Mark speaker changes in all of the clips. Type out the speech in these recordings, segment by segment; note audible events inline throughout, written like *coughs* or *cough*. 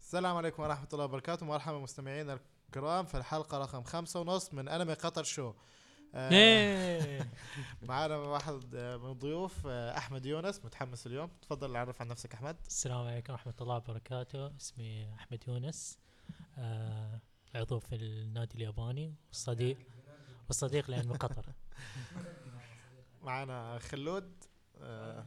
Speaker 1: السلام عليكم ورحمة الله وبركاته مرحبا مستمعينا الكرام في الحلقة رقم خمسة ونص من أنمي قطر شو آه،
Speaker 2: إيه.
Speaker 1: معانا واحد آه، من الضيوف آه، أحمد يونس متحمس اليوم تفضل عرف عن نفسك أحمد
Speaker 2: *laughs* السلام عليكم ورحمة الله وبركاته اسمي أحمد يونس آه، عضو في النادي الياباني والصديق والصديق لأن من قطر
Speaker 1: معانا خلود آه،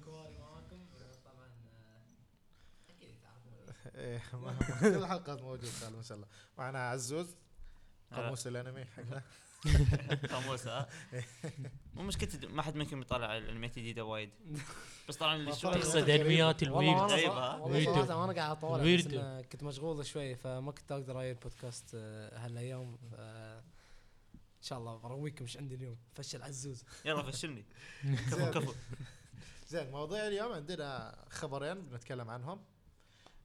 Speaker 1: إيه، *laughs* ما- كل الحلقات موجود خالد إن شاء الله معنا عزوز قاموس الأنمي حقنا
Speaker 3: قاموس ها مو مشكلتي ما حد منكم يطالع الانميات الجديده وايد بس طبعا اللي شوي
Speaker 2: تقصد انميات
Speaker 4: والله
Speaker 2: الويرد
Speaker 4: وانا
Speaker 3: غريبة،
Speaker 4: صراحة-
Speaker 3: ها؟
Speaker 4: والله
Speaker 2: ويردو.
Speaker 4: صراحة وانا قاعد اطالع بس
Speaker 2: ويردو.
Speaker 4: إنه كنت مشغول شوي فما كنت اقدر اغير بودكاست آه، هالايام ف ان شاء الله برويكم ايش عندي اليوم فشل عزوز
Speaker 3: يلا
Speaker 4: *laughs*
Speaker 3: فشلني كفو كفو
Speaker 1: زين مواضيع اليوم عندنا خبرين بنتكلم عنهم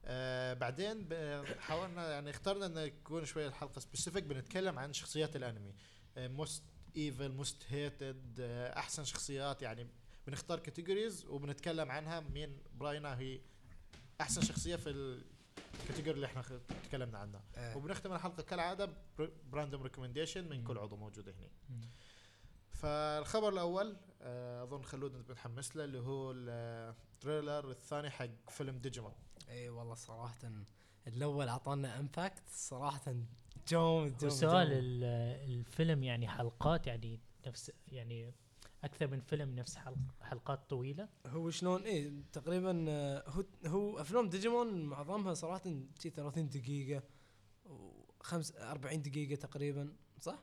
Speaker 1: آه بعدين ب- حاولنا يعني اخترنا ان يكون شوي الحلقه سبيسيفيك بنتكلم عن شخصيات آه، الانمي موست ايفل موست هيتد احسن آه، شخصيات يعني بنختار كاتيجوريز وبنتكلم عنها مين براينا هي احسن شخصيه في الكاتيجوري اللي احنا خ- تكلمنا عنها
Speaker 4: آه.
Speaker 1: وبنختم الحلقه كالعاده براندوم ريكومنديشن من كل عضو موجود هنا
Speaker 2: مم.
Speaker 1: فالخبر الاول آه، اظن خلود انت متحمس له اللي هو التريلر الثاني حق فيلم ديجيمون
Speaker 4: اي والله صراحة الاول اعطانا امباكت صراحة جوم جوم
Speaker 2: وسؤال
Speaker 4: جوم.
Speaker 2: ال- الفيلم يعني حلقات يعني نفس يعني أكثر من فيلم نفس حلق- حلقات طويلة
Speaker 4: هو شلون اي تقريبا آه، هو هو افلام ديجيمون معظمها صراحه شي 30 دقيقه وخمس 40 دقيقه تقريبا صح؟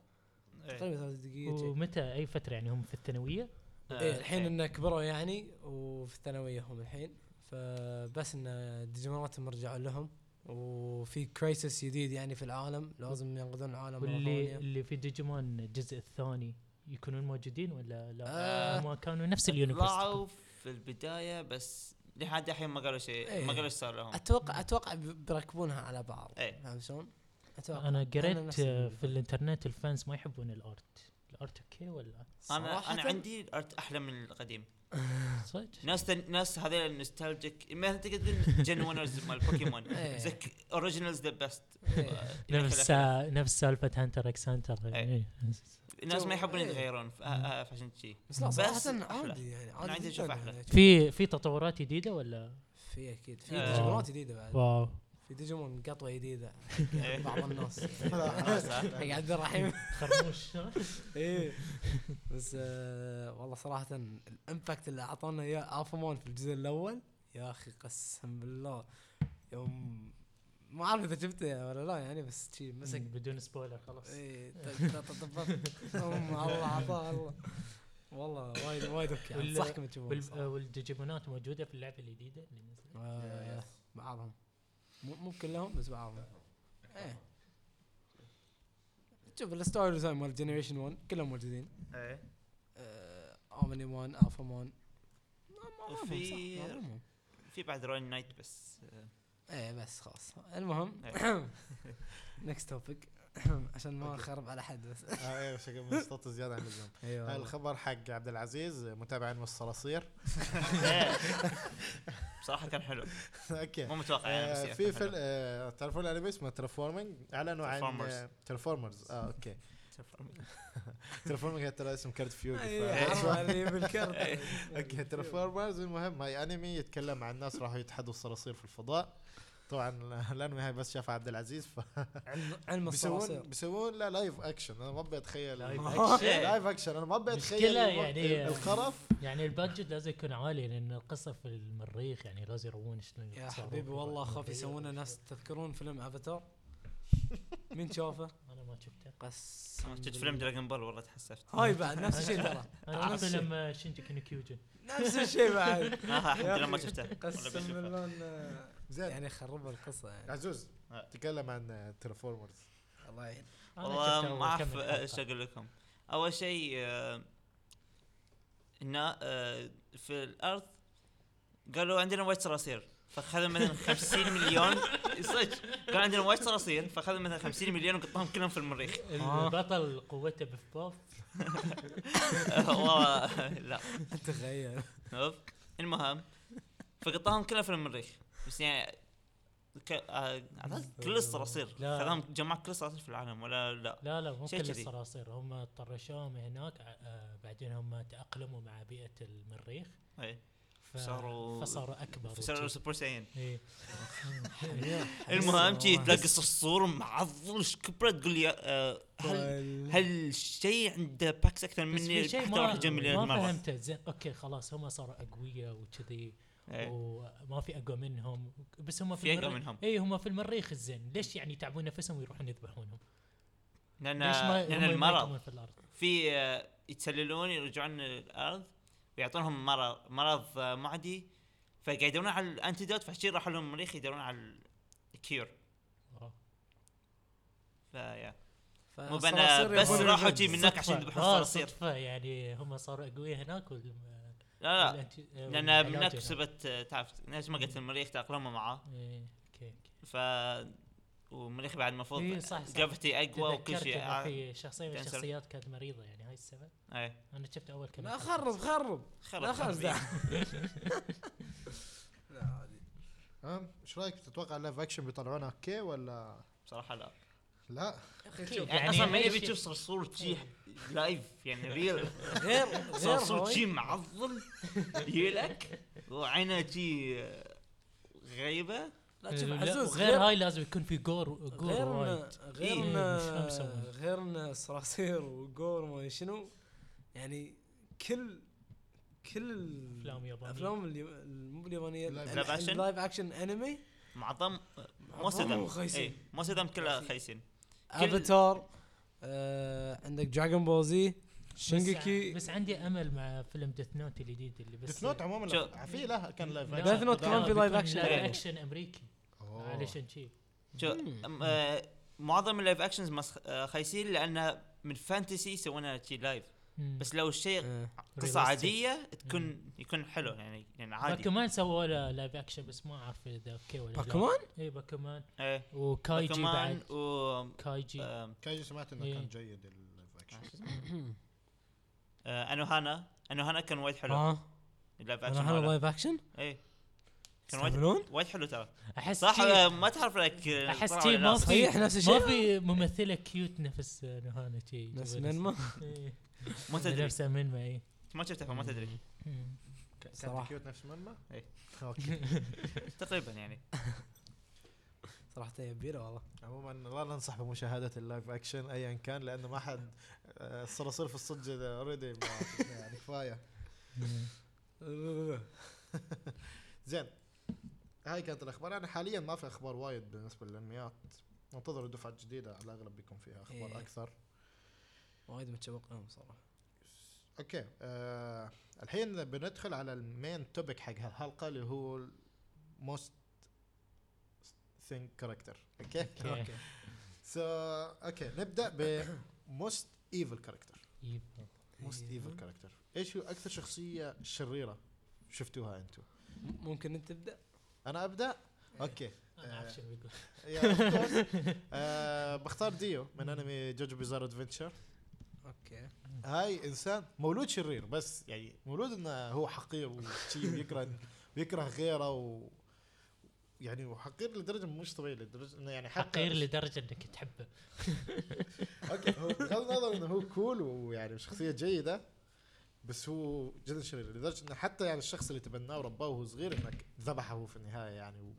Speaker 3: إيه.
Speaker 4: تقريبا 30 دقيقه شي.
Speaker 2: ومتى أي فترة يعني هم في الثانوية آه،
Speaker 4: ايه الحين
Speaker 3: إيه.
Speaker 4: انه كبروا يعني وفي الثانويه هم الحين فبس انه ديجيموناتهم رجعوا لهم وفي كريسس جديد يعني في العالم لازم ينقذون العالم مره
Speaker 2: واللي
Speaker 4: ثانيه
Speaker 2: اللي في ديجيمون الجزء الثاني يكونون موجودين ولا لا
Speaker 4: آه.
Speaker 2: هم كانوا نفس اليونيفرس
Speaker 3: طلعوا في البدايه بس لحد الحين ما قالوا شيء
Speaker 4: إيه.
Speaker 3: ما قالوا ايش صار لهم
Speaker 4: اتوقع اتوقع ب- بيركبونها على بعض
Speaker 3: إيه.
Speaker 4: فاهم شلون؟ اتوقع
Speaker 2: انا قريت
Speaker 4: نفس
Speaker 2: آه،
Speaker 4: ال-
Speaker 2: في الانترنت الفانز ما يحبون الارت الارت اوكي ولا *laughs*
Speaker 3: انا
Speaker 4: صراحة
Speaker 3: انا عندي الارت احلى من القديم
Speaker 2: صدق
Speaker 3: ناس تن... ناس هذول النوستالجيك ما تقدر تقول جن
Speaker 4: *laughs*
Speaker 3: ونرز مال بوكيمون
Speaker 4: إيه.
Speaker 3: زك اوريجينالز ذا بيست
Speaker 4: إيه.
Speaker 2: نفس نفس سالفه هانتر اكس هانتر
Speaker 3: إيه.
Speaker 4: *laughs*
Speaker 3: الناس ما
Speaker 4: جو-
Speaker 3: يحبون
Speaker 4: إيه.
Speaker 3: يتغيرون ف- آه، آه، فعشان شي
Speaker 4: بس لا
Speaker 3: بس
Speaker 4: صراحه
Speaker 3: أحلى.
Speaker 4: عادي يعني عادي
Speaker 3: أنا عندي
Speaker 4: جداً
Speaker 3: أشوف أحلى.
Speaker 4: يعني.
Speaker 2: في في تطورات جديده ولا
Speaker 4: في اكيد في
Speaker 3: آه.
Speaker 4: ديجيمونات جديده بعد
Speaker 2: واو
Speaker 4: في ديجيمون قطوه
Speaker 3: *laughs*
Speaker 4: جديده
Speaker 3: إيه.
Speaker 4: بعض
Speaker 3: *laughs*
Speaker 4: الناس
Speaker 1: خلاص.
Speaker 4: *laughs* حق عبد الرحيم
Speaker 2: خرموش إيه.
Speaker 4: ايه بس آه والله صراحة الامباكت اللي اعطونا اياه افمون في الجزء الاول يا اخي قسم بالله يوم ما اعرف اذا شفته ولا لا يعني بس شي *laughs* مسك
Speaker 2: بدون سبويلر خلاص
Speaker 4: ايه ط- ط- طبطب. أم الله عطاه الله والله وايد وايد يعني اوكي
Speaker 2: وال-
Speaker 4: انصحكم تشوفون
Speaker 2: وال- آه،
Speaker 4: صراحة.
Speaker 2: والديجيمونات موجوده في اللعبه الجديده اللي نزلت
Speaker 4: آه، بعضهم مو مو كلهم بس بعضهم ايه شوف الستوري ديزاين مال جنريشن 1 كلهم موجودين آه، اومني مون الفا مون
Speaker 3: وفي- في بعد روين نايت
Speaker 4: *laughs*
Speaker 3: بس آه،
Speaker 4: ايه بس خلاص المهم
Speaker 3: أيوة.
Speaker 4: *coughs* نكست توبيك *coughs* عشان ما
Speaker 1: أوكي.
Speaker 4: اخرب على حد
Speaker 1: *laughs*
Speaker 4: بس
Speaker 1: آه، ايه شكل مستط زياده عن اللزوم
Speaker 3: أيوة.
Speaker 1: هاي
Speaker 4: ايوه
Speaker 1: الخبر حق عبد العزيز متابعا والصراصير *laughs*
Speaker 3: إيه. بصراحه كان حلو
Speaker 1: اوكي
Speaker 3: مو متوقع يعني بس
Speaker 1: آه،
Speaker 3: يعني
Speaker 1: في
Speaker 3: كان حلو.
Speaker 1: فيلم آه، تعرفون الانمي اسمه ترفورمينج اعلنوا عن آه، ترفورمرز اه اوكي ترفورمينج ترى اسم كرت
Speaker 4: أيوة،
Speaker 1: فيوري *laughs*
Speaker 3: أيوة،
Speaker 4: بالكرت
Speaker 3: *laughs*
Speaker 1: اوكي ترانسفورمرز المهم هاي انمي يتكلم عن ناس راحوا يتحدوا الصراصير في الفضاء طبعا الانمي هاي بس شافها عبد العزيز ف
Speaker 4: علم- علم
Speaker 1: بيسوون
Speaker 4: الصراصير
Speaker 1: بيسوون لا لايف اكشن انا ما ابي اتخيل
Speaker 2: لايف
Speaker 1: *laughs*
Speaker 3: أكشن.
Speaker 1: لايف اكشن انا ما ابي اتخيل
Speaker 2: مشكلة
Speaker 1: الم-
Speaker 2: يعني-
Speaker 1: القرف
Speaker 2: يعني البادجت لازم يكون عالي لان القصه في المريخ يعني لازم يروون شلون
Speaker 4: يا
Speaker 2: يتصرفوا
Speaker 4: حبيبي والله
Speaker 2: في
Speaker 4: اخاف
Speaker 2: المريخ.
Speaker 4: يسوونه ناس تذكرون فيلم افاتار مين شافه؟
Speaker 2: انا ما شفته
Speaker 4: قسم
Speaker 3: شفت
Speaker 4: بالله.
Speaker 3: فيلم دراجون بول والله تحسفت آه،
Speaker 4: هاي بعد نفس الشيء ترى
Speaker 2: انا
Speaker 4: نفس
Speaker 2: اعرف
Speaker 4: الشيء.
Speaker 2: لما شينجيكي نو كيوجن
Speaker 4: نفس الشيء بعد
Speaker 3: *laughs* آه، الحمد لله ما
Speaker 4: يا أخي،
Speaker 3: شفته
Speaker 4: قسم
Speaker 3: ولا بشوفه.
Speaker 4: بالله إنه-
Speaker 1: زين
Speaker 4: يعني خربوا القصه
Speaker 1: *laughs*
Speaker 4: يعني
Speaker 1: عزوز
Speaker 3: آه.
Speaker 1: تكلم عن ترانسفورمرز
Speaker 4: الله يعين
Speaker 3: والله ما اعرف ايش اقول لكم اول شيء آه، هنا آه، في الارض قالوا عندنا وايد صراصير فاخذوا مثلا 50
Speaker 4: *laughs*
Speaker 3: مليون صدق قالوا عندنا وايد صراصير فاخذوا مثلا 50 مليون وقطعهم كلهم في المريخ *laughs*
Speaker 4: آه.
Speaker 2: البطل قوته بف بوف
Speaker 3: والله لا
Speaker 4: تخيل
Speaker 3: عرفت؟ المهم فقطعهم كلها في المريخ بس يعني ك- آه، اعطاك كل الصراصير
Speaker 2: لا.
Speaker 3: خذهم جمع كل الصراصير في العالم ولا لا
Speaker 2: لا لا مو
Speaker 3: شيء
Speaker 2: كل
Speaker 3: كذي.
Speaker 2: الصراصير هم طرشوهم هناك ع- آه، بعدين هم تأقلموا مع بيئة المريخ
Speaker 3: اي
Speaker 2: ف-
Speaker 3: صاروا-
Speaker 2: فصاروا أكبر
Speaker 3: صاروا
Speaker 2: وشي.
Speaker 3: إيه. سوبر سايين *laughs*
Speaker 2: إيه.
Speaker 3: المهم شي
Speaker 4: والله.
Speaker 3: تلاقي الصرصور معضل ايش كبره تقول لي آه، هل هل الشيء عنده باكس اكثر
Speaker 2: طيب. بس
Speaker 3: مني
Speaker 2: في شيء
Speaker 3: أكثر
Speaker 2: ما
Speaker 3: واحد جنب مليار
Speaker 2: ما
Speaker 3: مره
Speaker 2: فهمته زين اوكي خلاص هم صاروا اقوياء وكذي
Speaker 3: إيه.
Speaker 2: وما في اقوى منهم بس هم في,
Speaker 3: في أقوى
Speaker 2: المريخ-
Speaker 3: منهم.
Speaker 2: اي هم في المريخ الزين ليش يعني يتعبون نفسهم ويروحون يذبحونهم؟
Speaker 3: لأن
Speaker 2: ليش ما
Speaker 3: لأن
Speaker 2: هم
Speaker 3: المرض
Speaker 2: يميتون في الارض؟
Speaker 3: في آه، يتسللون يرجعون الارض ويعطونهم مرض مرض آه، معدي فقاعد يدورون على الانتيدوت فعشان راحوا لهم المريخ يدورون على الكيور
Speaker 2: آه.
Speaker 3: فيا
Speaker 4: مو
Speaker 3: مو بنا بس راحوا جي من هناك عشان يذبحون
Speaker 2: آه،
Speaker 3: الصراصير
Speaker 2: صدفة يعني هم صاروا اقوياء هناك وال
Speaker 3: لا لا
Speaker 2: والأنت-
Speaker 3: لان
Speaker 2: والعلاج
Speaker 3: من هناك
Speaker 2: هناك.
Speaker 3: بسبب آه، تعرف نفس ما قلت المريخ تاقلموا معاه
Speaker 2: إيه، اوكي اوكي
Speaker 3: ف والمريخ بعد المفروض
Speaker 2: إيه، صح، صح.
Speaker 3: جرافيتي اقوى وكل
Speaker 2: تذكرت
Speaker 3: شيء
Speaker 2: إنه
Speaker 3: آه،
Speaker 2: في شخصية من
Speaker 3: كانسر.
Speaker 2: الشخصيات كانت مريضة يعني هاي السنة
Speaker 3: اي
Speaker 2: انا شفت اول كم
Speaker 4: لا خرب خرب لا
Speaker 3: خلاص
Speaker 4: خلاص دع
Speaker 1: تمام ايش رايك تتوقع اللايف اكشن بيطلعونه اوكي ولا
Speaker 3: بصراحه لا
Speaker 1: لا
Speaker 3: يعني
Speaker 2: يعني
Speaker 3: اصلا ما
Speaker 2: ليش-
Speaker 3: يبي تشوف صرصور تشي لايف يعني ريل
Speaker 4: غير غير
Speaker 3: صرصور
Speaker 4: هواي.
Speaker 3: تشي معضل يلك وعينه تشي غريبه
Speaker 4: لا شوف
Speaker 2: إيه، لا،
Speaker 4: عزوز
Speaker 2: غير
Speaker 4: غير
Speaker 2: هاي لازم يكون في جور جور
Speaker 4: غير
Speaker 2: وايد
Speaker 4: إن- غير
Speaker 2: إيه،
Speaker 4: إن-
Speaker 2: مش فاهم يسوون.
Speaker 4: غير إن الصراصير وجور وما شنو يعني كل كل ال-
Speaker 2: أفلام يابانية.
Speaker 4: افلام اليو- مو باليابانيه
Speaker 1: لايف
Speaker 4: ال- ال-
Speaker 3: أكشن.
Speaker 4: اللايف اكشن انمي
Speaker 3: معظم إيه،
Speaker 4: معظمهم
Speaker 3: موسدم
Speaker 4: خايسين.
Speaker 3: اي موسدم كلها خايسين
Speaker 4: افاتار آه، عندك دراجون بول زي
Speaker 2: بس,
Speaker 4: شينجيكي
Speaker 2: بس عندي امل مع فيلم ديث نوت الجديد اللي بس
Speaker 1: ديث نوت عموما
Speaker 3: شو-
Speaker 1: في له كان لايف
Speaker 2: لا،
Speaker 1: اكشن
Speaker 4: Death Note
Speaker 2: لا،
Speaker 4: كمان في
Speaker 2: بيكون
Speaker 4: live action.
Speaker 2: live
Speaker 3: إيه.
Speaker 2: action امريكي
Speaker 1: أوه.
Speaker 2: علشان شي
Speaker 3: شو أم- آه، معظم اللايف اكشنز مس- آه، خايسين لانها من فانتسي يسوونها تشي لايف
Speaker 2: مم.
Speaker 3: بس لو الشيء
Speaker 4: آه،
Speaker 2: Realistic.
Speaker 3: قصه عاديه تكون يكون حلو يعني يعني عادي
Speaker 2: باكمان سووا له لايف اكشن بس ما اعرف اذا اوكي ولا لا.
Speaker 4: باكمان
Speaker 2: اي باكمان
Speaker 3: ايه
Speaker 2: وكايجي
Speaker 3: كمان
Speaker 2: بعد
Speaker 3: و
Speaker 2: كايجي
Speaker 3: آم،
Speaker 1: كايجي سمعت انه
Speaker 2: إيه.
Speaker 1: كان جيد اللايف اكشن
Speaker 3: آه، انوهانا انوهانا كان وايد
Speaker 2: آه.
Speaker 3: حلو
Speaker 4: اه
Speaker 3: اللايف اكشن
Speaker 4: انا هذا
Speaker 3: ماله.
Speaker 4: لايف اكشن
Speaker 3: ايه كان وايد
Speaker 4: يستعملون
Speaker 3: وايد حلو ترى
Speaker 2: احس
Speaker 3: صح
Speaker 2: شي-
Speaker 3: آه، ما تعرف لك آه،
Speaker 2: أحس
Speaker 3: طلع
Speaker 2: شي
Speaker 3: ولا لا،
Speaker 2: ما
Speaker 3: صح.
Speaker 4: صحيح نفس
Speaker 2: ما
Speaker 4: الشيء
Speaker 2: في ممثله كيوت نفس نهانا شي
Speaker 4: نفس منما
Speaker 2: إيه.
Speaker 3: ما تدري
Speaker 2: نفس إيه. منما
Speaker 4: *laughs*
Speaker 2: اي
Speaker 3: ما شفته فما تدري
Speaker 2: مم.
Speaker 1: كان
Speaker 4: صراحة.
Speaker 1: كيوت نفس منما؟
Speaker 3: إيه.
Speaker 1: اوكي
Speaker 3: تقريبا يعني
Speaker 4: صراحه يبيله والله
Speaker 1: عموما لا ننصح بمشاهدة اللايف اكشن ايا كان لانه ما حد آه، الصراصير في الصج اوريدي يعني كفايه
Speaker 2: مم.
Speaker 1: زين هاي كانت الاخبار انا حاليا ما في اخبار وايد بالنسبه للانميات انتظروا دفعه جديده على الاغلب بيكون فيها
Speaker 4: إيه.
Speaker 1: اخبار اكثر
Speaker 4: وايد متشوق لهم صراحه
Speaker 1: اوكي آه الحين بندخل على المين توبيك حق هالحلقه اللي هو موست ثينك كاركتر اوكي
Speaker 2: اوكي
Speaker 1: سو اوكي نبدا ب موست ايفل كاركتر
Speaker 2: يبا.
Speaker 1: موست
Speaker 4: أيوه.
Speaker 1: ايفل كاركتر ايش هو اكثر شخصيه شريره شفتوها انتم
Speaker 4: م- ممكن انت تبدا
Speaker 1: انا ابدا اوكي
Speaker 2: انا
Speaker 1: آه.
Speaker 2: اعرف شو بيقول
Speaker 1: يا of course. آه بختار ديو من انمي جوجو بيزار ادفنتشر
Speaker 4: اوكي
Speaker 1: هاي انسان مولود شرير بس يعني مولود انه هو حقير وشي *laughs* ويكره ويكره غيره و يعني وحقير لدرجه مش طبيعيه لدرجه انه يعني حتى-
Speaker 2: حقير
Speaker 1: *laughs*
Speaker 2: لدرجه انك تحبه
Speaker 1: اوكي هو بغض النظر انه هو كول ويعني شخصيه جيده بس هو جدا شرير لدرجه انه حتى يعني الشخص اللي تبناه ورباه وهو صغير انك ذبحه هو في النهايه يعني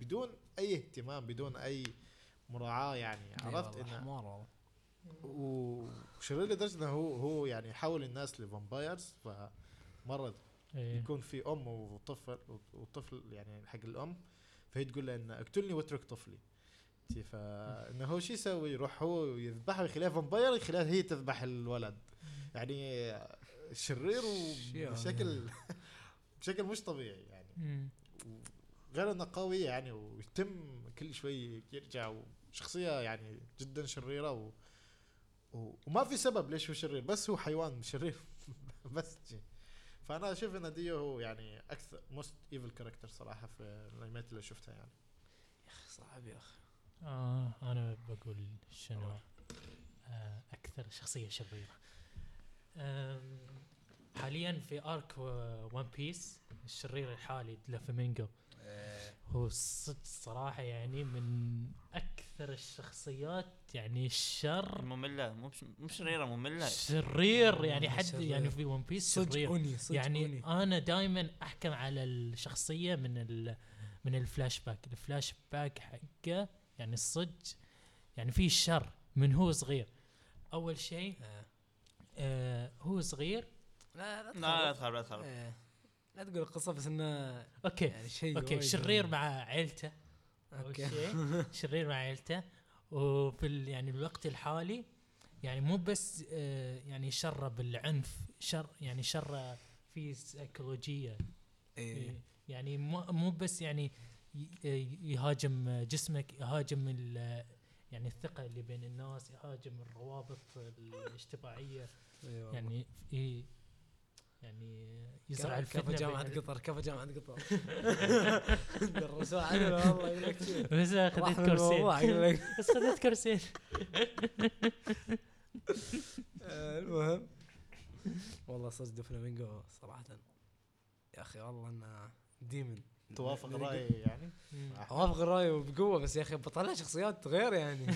Speaker 1: بدون اي اهتمام بدون اي مراعاه يعني عرفت انه
Speaker 4: حمار إيه والله
Speaker 1: وشرير لدرجه انه هو هو يعني يحول الناس لفامبايرز فمره
Speaker 2: إيه.
Speaker 1: يكون في ام وطفل وطفل يعني حق الام فهي تقول له انه اقتلني واترك طفلي تي فانه هو شو يسوي؟ يروح هو يذبحه ويخليها فامباير ويخليها هي تذبح الولد يعني شرير
Speaker 4: شيء
Speaker 1: وبشكل *laughs* بشكل مش طبيعي يعني
Speaker 2: مم.
Speaker 1: غير انه قوي يعني ويتم كل شوي يرجع وشخصيه يعني جدا شريره و... و... وما في سبب ليش هو شرير بس هو حيوان شرير *laughs* بس جي. فانا اشوف ان ديو هو يعني اكثر موست ايفل كاركتر صراحه في الانميات اللي شفتها يعني
Speaker 4: صعب يا اخي
Speaker 2: آه انا بقول شنو آه اكثر شخصيه شريره آم، حاليا في ارك ون بيس الشرير الحالي لافلامينجو هو صدق صراحه يعني من اكثر الشخصيات يعني الشر
Speaker 3: ممله مو بش- مو شريره ممله
Speaker 2: شرير يعني
Speaker 4: والله
Speaker 2: حد
Speaker 4: آه، شرير.
Speaker 2: يعني في ون بيس
Speaker 4: صدق
Speaker 2: شرير
Speaker 4: أني صدق
Speaker 2: يعني
Speaker 4: أني.
Speaker 2: انا دائما احكم على الشخصيه من ال من الفلاش باك الفلاش باك حقه يعني الصدق يعني فيه الشر من هو صغير اول شيء
Speaker 4: آه.
Speaker 2: آه هو صغير
Speaker 4: لا لا
Speaker 3: لا
Speaker 4: تخرب.
Speaker 3: لا تخرب لا تخرب
Speaker 4: آه. لا تقول القصه بس انه
Speaker 2: اوكي
Speaker 4: يعني شيء
Speaker 2: اوكي
Speaker 4: وايد-
Speaker 2: شرير مع عيلته اول
Speaker 4: اوكي
Speaker 2: شيء شرير مع عيلته وفي ال- يعني الوقت الحالي يعني مو بس آه، يعني شره بالعنف شر يعني شره في سيكولوجيه
Speaker 4: إيه.
Speaker 2: يعني مو مو بس يعني ي- ي- يهاجم جسمك يهاجم ال- يعني الثقه اللي بين الناس يهاجم الروابط الاجتماعيه
Speaker 4: إيه والله.
Speaker 2: يعني ي- يعني يزرع
Speaker 4: كفى- كفى
Speaker 2: الفتنه بين
Speaker 4: جامعة
Speaker 2: ال-
Speaker 4: قطر كفى جامعة قطر درسوها علينا والله يقول لك شيء.
Speaker 2: بس
Speaker 4: راح
Speaker 2: اخذت
Speaker 4: من الموضوع،
Speaker 2: كرسين
Speaker 4: يقول لك.
Speaker 2: *laughs* بس اخذت
Speaker 4: *laughs*
Speaker 2: كرسين
Speaker 4: آه، المهم والله صدق فلامينجو صراحة يا اخي والله انه ديمن
Speaker 1: توافق الراي يعني
Speaker 4: اوافق الراي وبقوه بس يا اخي بطلع شخصيات غير يعني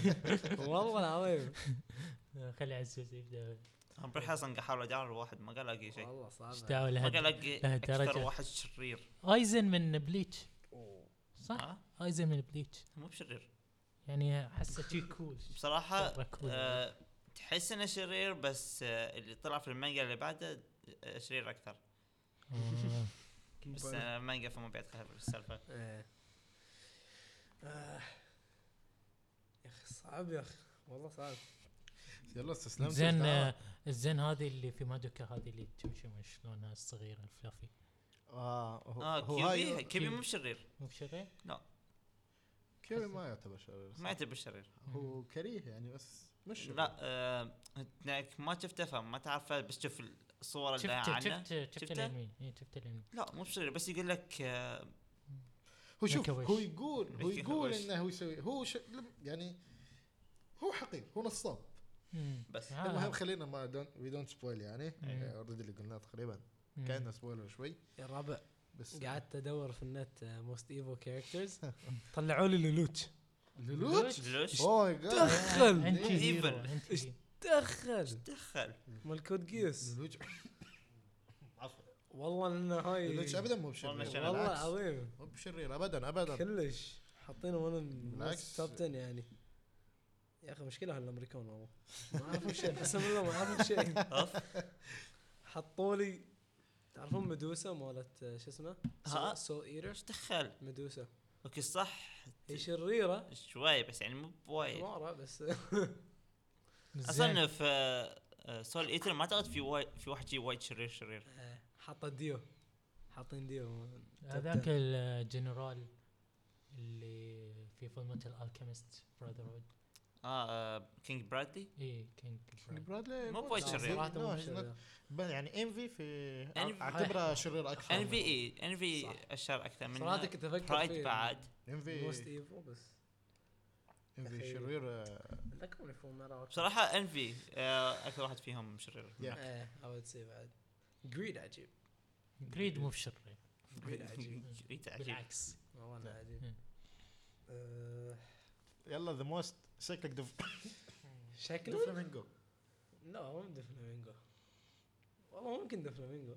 Speaker 4: والله العظيم
Speaker 2: خلي عزوز يبدا
Speaker 3: هم بالحصن قحاول اجار واحد ما قال الاقي شيء
Speaker 4: والله
Speaker 2: ايش
Speaker 4: صعب
Speaker 2: دعوه
Speaker 3: ما قال
Speaker 2: لها
Speaker 3: الاقي
Speaker 2: لهالدرجة.
Speaker 3: اكثر واحد شرير
Speaker 2: ايزن من بليتش صح
Speaker 3: ها
Speaker 2: ايزن من بليتش
Speaker 3: مو بشرير
Speaker 2: يعني احسه شي كول
Speaker 3: بصراحه
Speaker 2: مرة كول.
Speaker 3: آه، تحس انه شرير بس آه، اللي طلع في المانجا اللي بعده آه، شرير اكثر
Speaker 2: آه.
Speaker 3: بس انا المانجا فما بيتقهر السالفه
Speaker 4: إيه. آه. يا اخي صعب يا اخي والله صعب
Speaker 1: *laughs* يلا استسلمت
Speaker 2: زين
Speaker 1: تعال.
Speaker 2: آه، زين هذه اللي في مادوكا هذه اللي تمشي من شلونها الصغيره الفلافي
Speaker 1: اه هو-
Speaker 3: اه
Speaker 1: هو هاي-
Speaker 3: كيوبي كيوبي مو بشرير
Speaker 2: مو بشغل؟
Speaker 1: كيوبي ما يعتبر شرير
Speaker 3: ما يعتبر بالشرير
Speaker 1: هو كريه يعني بس مش شرير.
Speaker 3: لا آه، انك ما شفته فما تعرفه بس شوف الصور اللي
Speaker 2: شفت
Speaker 3: عنه
Speaker 2: شفت شفت
Speaker 3: شفته؟
Speaker 2: الانمي إيه، شفت الانمي
Speaker 3: لا مو بشرير بس يقول لك آه،
Speaker 1: هو شوف
Speaker 2: مكوش.
Speaker 1: هو يقول هو يقول
Speaker 3: مكوش.
Speaker 1: انه هو يسوي هو ش... لم- يعني هو حقير هو نصاب
Speaker 3: بس
Speaker 2: آه.
Speaker 1: المهم خلينا ما دون وي دونت سبويل يعني
Speaker 2: مم.
Speaker 1: اوريدي اللي قلناه تقريبا
Speaker 2: مم.
Speaker 1: كانه سبويلر شوي
Speaker 4: يا الربع
Speaker 1: بس
Speaker 4: قعدت ادور في النت آه، موست ايفو كاركترز طلعوا لي لولوتش
Speaker 1: لولوت
Speaker 3: ليش
Speaker 1: اوه ماي
Speaker 4: *laughs*
Speaker 1: جاد
Speaker 4: دخل
Speaker 2: انت
Speaker 3: إيه.
Speaker 2: هيرو انت
Speaker 4: إيش-
Speaker 2: هيرو.
Speaker 4: دخل
Speaker 3: دخل
Speaker 4: ملكوت جيوس
Speaker 1: لولوت عفوا
Speaker 4: والله انه هاي
Speaker 1: لولوت ابدا مو
Speaker 3: والله
Speaker 1: بشرير
Speaker 3: شغال.
Speaker 4: والله
Speaker 1: بالعكس.
Speaker 4: العظيم
Speaker 1: مو بشرير ابدا ابدا
Speaker 4: كلش حاطينه وانا من
Speaker 1: بالعكس.
Speaker 4: توب 10 يعني يا اخي مشكله هالامريكان والله ما اعرفوا
Speaker 3: *laughs*
Speaker 4: شيء قسم بالله ما اعرفوا شيء حطوا لي تعرفون مدوسه مالت آه، شو اسمه؟
Speaker 3: ها؟
Speaker 4: سو ايتر
Speaker 3: ايش دخل
Speaker 4: مدوسه
Speaker 3: اوكي صح
Speaker 4: هي شريره
Speaker 3: شوي بس يعني مو بوايد
Speaker 4: حماره
Speaker 3: *laughs*
Speaker 4: بس
Speaker 2: زين.
Speaker 3: اصلا في آه، آه، سول ايتر ما اعتقد في وايد في واحد جي وايد شرير شرير
Speaker 4: آه، حاطه ديو حاطين ديو
Speaker 2: هذاك الجنرال اللي في فيلم الالكيميست براذرهود
Speaker 3: اه كينج برادلي
Speaker 2: اي كينج
Speaker 1: برادلي
Speaker 3: مو بوايد شرير.
Speaker 1: لا،
Speaker 4: صراحه مو
Speaker 1: he's not-
Speaker 4: شرير
Speaker 1: ب- يعني ام في في
Speaker 3: NV
Speaker 1: اعتبره شرير اكثر
Speaker 3: ان في اي ان في
Speaker 4: صح.
Speaker 3: الشر اكثر من
Speaker 4: صراحه كنت افكر
Speaker 3: برايد
Speaker 4: فيه
Speaker 3: بعد
Speaker 1: ام
Speaker 4: موست
Speaker 1: في
Speaker 4: ايفو بس
Speaker 1: ام في
Speaker 4: أخي.
Speaker 1: شرير آه،
Speaker 4: ذكرني فول ميتال
Speaker 3: بصراحه ان في اكثر E، آه، واحد فيهم شرير *laughs*
Speaker 1: Yeah.
Speaker 4: ايه اود سي بعد جريد عجيب
Speaker 2: جريد مو بشري
Speaker 3: *laughs*
Speaker 4: جريد عجيب
Speaker 3: جريت عجيب
Speaker 2: بالعكس
Speaker 4: والله
Speaker 1: طيب.
Speaker 4: أنا
Speaker 2: مم.
Speaker 4: عجيب آه،
Speaker 1: يلا ذا موست شكلك دف-
Speaker 4: شكله
Speaker 1: دفلامينجو
Speaker 4: لا هو مو دفلامينجو والله ممكن دفلامينجو